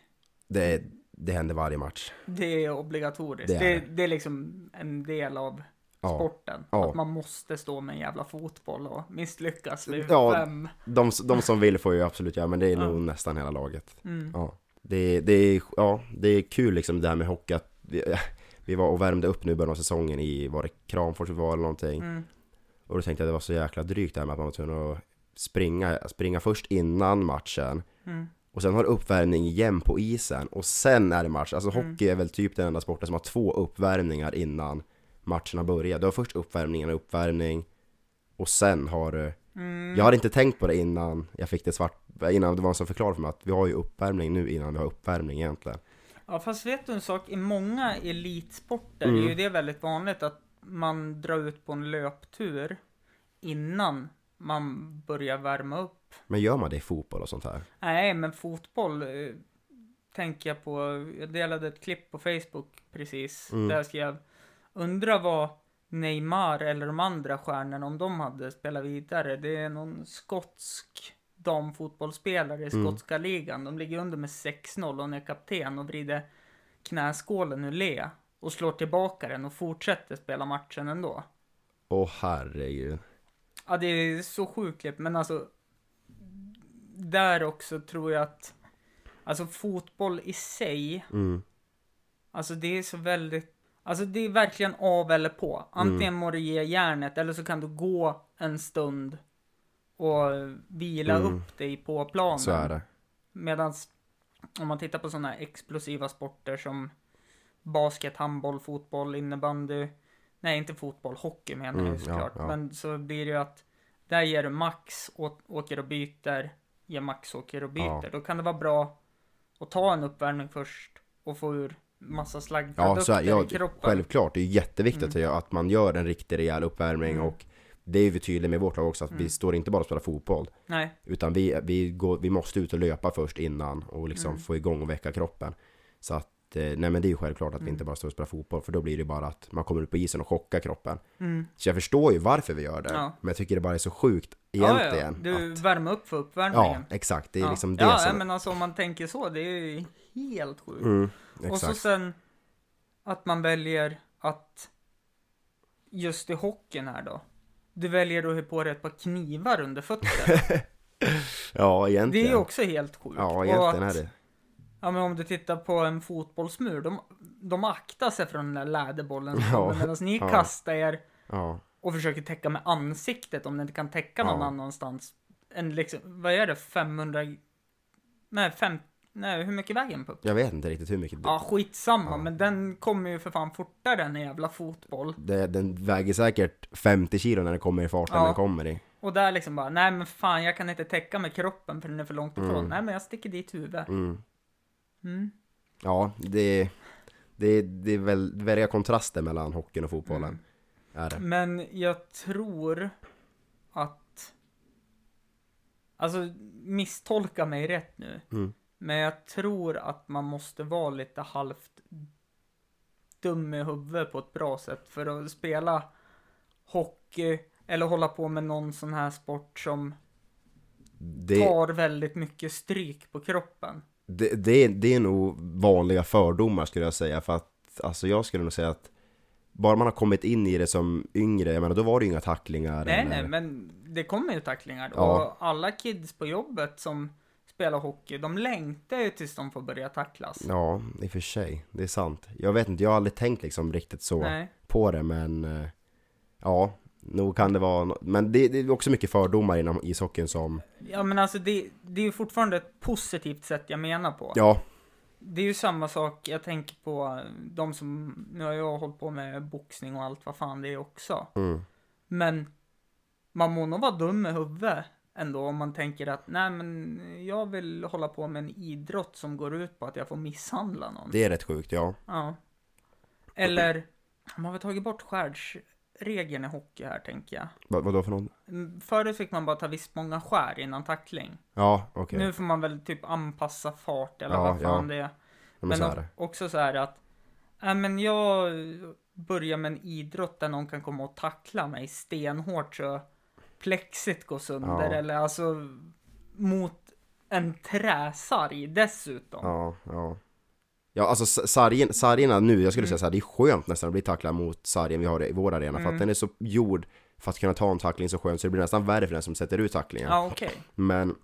Det, det händer varje match.
Det är obligatoriskt.
Det
Det
är
är,
det.
det, är liksom en del av
Ja.
sporten.
Ja.
Att man måste stå med en jävla fotboll och misslyckas vid
Ja.
fem.
De, de som vill får ju absolut göra, men det är nog
Ja.
nästan hela laget.
Mm.
Ja. Det, det, är, ja, det är kul liksom det här med hockey att vi, [laughs] vi var och värmde upp nu i början av säsongen i, var det Kramfors vi var eller någonting?
Mm.
Och då tänkte jag att det var så jäkla drygt det här med att man var tvungen att springa, springa först innan matchen
Mm.
och sen har du uppvärmning igen på isen och sen är det match. Alltså
Mm.
hockey är väl typ den enda sporten som har två uppvärmningar innan matcherna börjar. Du har först uppvärmningen och uppvärmning och sen har eh, du
Mm.
jag hade inte tänkt på det innan jag fick det svart, innan det var någon som förklarade för mig att vi har ju uppvärmning nu innan vi har uppvärmning egentligen.
Ja fast vet du en sak? I många elitsporter
Mm.
är ju det väldigt vanligt att man drar ut på en löptur innan man börjar värma upp.
Men gör man det i fotboll och sånt här?
Nej men fotboll eh, tänker jag på. Jag delade ett klipp på Facebook precis
Mm.
där jag skrev Undra vad Neymar eller de andra stjärnorna om de hade spelat vidare. Det är någon skotsk damfotbollsspelare i
Mm.
skotska ligan. De ligger under med 6-0 och hon är kapten och vrider knäskålen ur le och slår tillbaka den och fortsätter spela matchen ändå.
Åh herregud.
Ja, det är så sjukt klipp, men alltså. Där också tror jag att. Alltså fotboll i sig.
Mm.
Alltså det är så väldigt. Alltså det är verkligen av eller på. Antingen
Mm.
må du ge järnet eller så kan du gå en stund. Och vila
Mm.
upp dig på planen.
Så är det.
Medan om man tittar på sådana explosiva sporter som basket, handboll, fotboll, innebandy. Nej, inte fotboll, hockey menar jag
Mm,
ju såklart.
ja, ja.
Men så blir det ju att där ger du max, å- åker och byter, ger max, åker och byter.
Ja.
Då kan det vara bra att ta en uppvärmning först och få ur massa
Ja, så
slaggprodukter
är,
i
ja,
kroppen.
självklart. Det är ju jätteviktigt mm. att man gör en riktig rejäl uppvärmning
Mm.
och det är vi tydliga med i vårt lag också att vi står inte bara och spelar fotboll
Nej,
utan vi, vi, går, vi måste ut och löpa först innan och liksom
Mm.
få igång och väcka kroppen. Så att, eh, nej men det är ju självklart
Mm.
att vi inte bara står och spelar fotboll för då blir det bara att man kommer ut på isen och chockar kroppen.
mm.
Så jag förstår ju varför vi gör det.
Ja.
Men jag tycker det bara är så sjukt
ja,
egentligen.
ja, du
att,
värmer upp för uppvärmningen.
ja exakt. Det är
Ja.
liksom det
ja,
som...
ja, men alltså om man tänker så, det är ju helt sjukt.
mm,
Och så
exakt.
sen att man väljer att just i hockeyn här då. Du väljer att ha på dig ett par knivar under fötterna.
ja,
Det är
[laughs] egentligen.
ju också helt sjukt.
Ja,
Och
egentligen
att,
är det.
Ja men om du tittar på en fotbollsmur. De, de aktar sig från den där läderbollen.
Ja.
Medan ni
[laughs] Ja.
kastar er
Ja,
och försöker täcka med ansiktet om ni inte kan täcka någon
Ja.
annanstans. En liksom, vad är det? 500? Nej, fem, nej hur mycket väger en puck?
jag vet inte riktigt hur mycket.
Ja, skitsamma,
Ja.
men den kommer ju för fan fortare än en jävla fotboll.
Det, den väger säkert 50 kilo när den kommer i farten
Ja.
den kommer i.
Och där liksom bara, nej men fan jag kan inte täcka med kroppen för den är för långt ifrån.
Mm.
Nej men jag sticker dit huvudet.
Mm.
Mm.
Ja, det, det, det är väl väldiga kontraster mellan hockeyn och fotbollen.
Mm.
Är det.
Men jag tror att... Alltså misstolka mig rätt nu.
Mm.
Men jag tror att man måste vara lite halvt dum i huvudet på ett bra sätt för att spela hockey eller hålla på med någon sån här sport som
Det,
tar väldigt mycket stryk på kroppen.
det, det, det är nog vanliga fördomar skulle jag säga för att alltså jag skulle nog säga att bara man har kommit in i det som yngre, jag menar då var det ju inga tacklingar
Nej,
eller-
nej, men det kommer ju tacklingar.
Ja.
Och alla kids på jobbet som spelar hockey, de längtar ju tills de får börja tacklas.
Ja, i och för sig. Det är sant. Jag vet inte, jag har aldrig tänkt liksom riktigt så
Nej.
på det men eh, Ja, nog kan det vara nå- Men det, det är också mycket fördomar inom ishockeyn som
Ja, men alltså det, det är ju fortfarande ett positivt sätt jag menar på.
Ja,
Det är ju samma sak, jag tänker på eh, de som, nu har jag hållit på med boxning och allt vad fan det är också.
mm,
Men man må nog vara dum i huvudet ändå om man tänker att nej men jag vill hålla på med en idrott som går ut på att jag får misshandla någon.
det är rätt sjukt ja
Ja. Eller, man har väl tagit bort skärsregeln i hockey här tänker jag.
Vad, Vadå för någon?
Mm, Förut fick man bara ta visst många skär innan tackling.
Ja, okej
Nu får man väl typ anpassa fart eller
Ja,
vad fan
ja.
det är.
ja, men så
o-
är det
också så här att, nej men jag börjar med en idrott där någon kan komma och tackla mig stenhårt så plexit går sönder
Ja.
eller alltså mot en träsarg dessutom.
Ja, ja Ja alltså s- sargen, sargerna nu, jag skulle
Mm.
säga såhär, det är skönt nästan att bli tacklad mot sargen vi har i vår arena
Mm.
för att den är så gjord för att kunna ta en tackling så skönt så det blir nästan värre för den som sätter ut tacklingen.
Ja, okej.
Men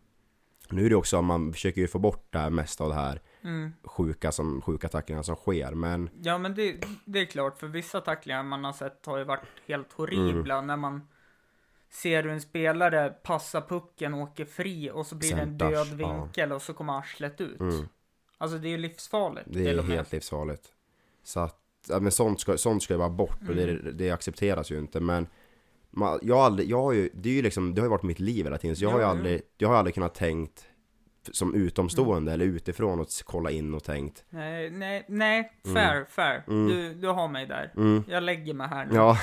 nu är det också, man försöker ju få bort det här mesta av det här
Mm.
sjuka, som, sjuka tacklingarna som sker men
Ja, men det, det är klart, för vissa tacklingar man har sett har ju varit helt horribla
Mm.
när man ser hur en spelare passar pucken, åker fri och så blir det en
Centers,
död
ja.
vinkel och så kommer arslet ut.
Mm.
Alltså det är ju livsfarligt.
det
till
är
och med.
helt livsfarligt. Så att, ja, men sånt ska, sånt ska ju vara bort och det,
Mm.
det accepteras ju inte men man, jag, har aldrig, jag har ju, det är ju liksom, det har ju varit mitt liv hela tiden så jag har ju
Ja, ja.
aldrig, jag har aldrig kunnat tänkt som
Mm.
utomstående eller utifrån och s- kolla in och tänkt
Nej, nej, nej, fair, fair. Du, du har mig där.
Mm.
Jag lägger mig här nu.
Ja,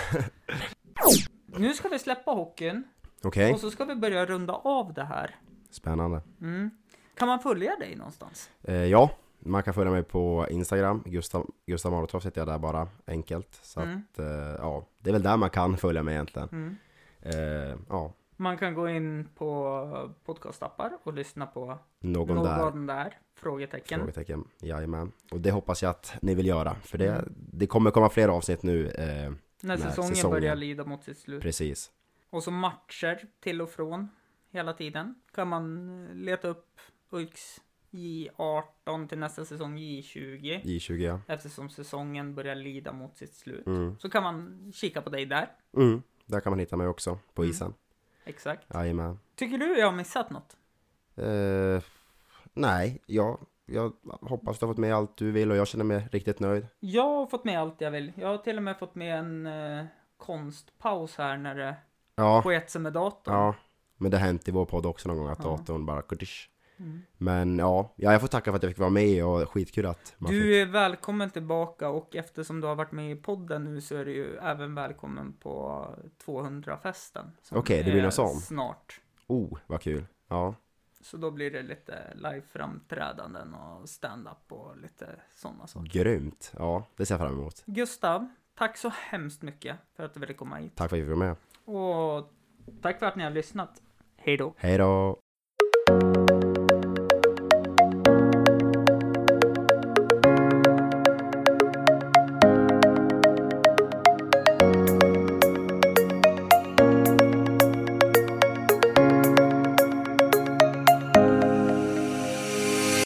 Nu ska vi släppa hockeyn
okej,
och så ska vi börja runda av det här.
spännande.
Mm. Kan man följa dig någonstans?
Eh, ja, man kan följa mig på Instagram, Gustav, Gustav Marotov heter jag där bara, enkelt. Så
Mm.
att, eh, ja, det är väl där man kan följa mig egentligen.
Mm.
Eh, ja,
Man kan gå in på podcastappar och lyssna på
någon,
någon
där.
där? Frågetecken.
Frågetecken. Jajamän. Och det hoppas jag att ni vill göra, för det, det kommer komma fler avsnitt nu. Eh,
När
När
säsongen,
säsongen-
börjar lida mot sitt slut.
precis.
Och så matcher till och från hela tiden. Kan man leta upp Ulks J18 till nästa säsong J20.
J20 ja.
Eftersom säsongen börjar lida mot sitt slut.
Mm.
Så kan man kika på dig där.
Mm. Där kan man hitta mig också, på isen.
Exakt.
Jajamän.
Tycker du jag har missat något?
Eh, nej, ja, jag hoppas du har fått med allt du vill och jag känner mig riktigt nöjd.
Jag har fått med allt jag vill. Jag har till och med fått med en eh, konstpaus här när det
Ja,
sket sig med datorn.
ja. Men det har hänt i vår podd också någon gång att datorn bara kurtisch.
Mm.
Men ja, ja, jag får tacka för att jag fick vara med och skitkul att man fick.
Du är välkommen tillbaka och eftersom du har varit med i podden nu så är du ju även välkommen på 200-festen. som
Okej, det blir
är
något sånt.
Snart.
Oh, vad kul. Ja,
Så då blir det lite live-framträdanden och stand-up och lite sådana saker.
grymt. Ja, det ser jag fram emot.
Gustav, tack så hemskt mycket för att du ville komma hit.
Tack för att jag fick vara med.
Och tack för att ni har lyssnat. Hej då!
Hej då!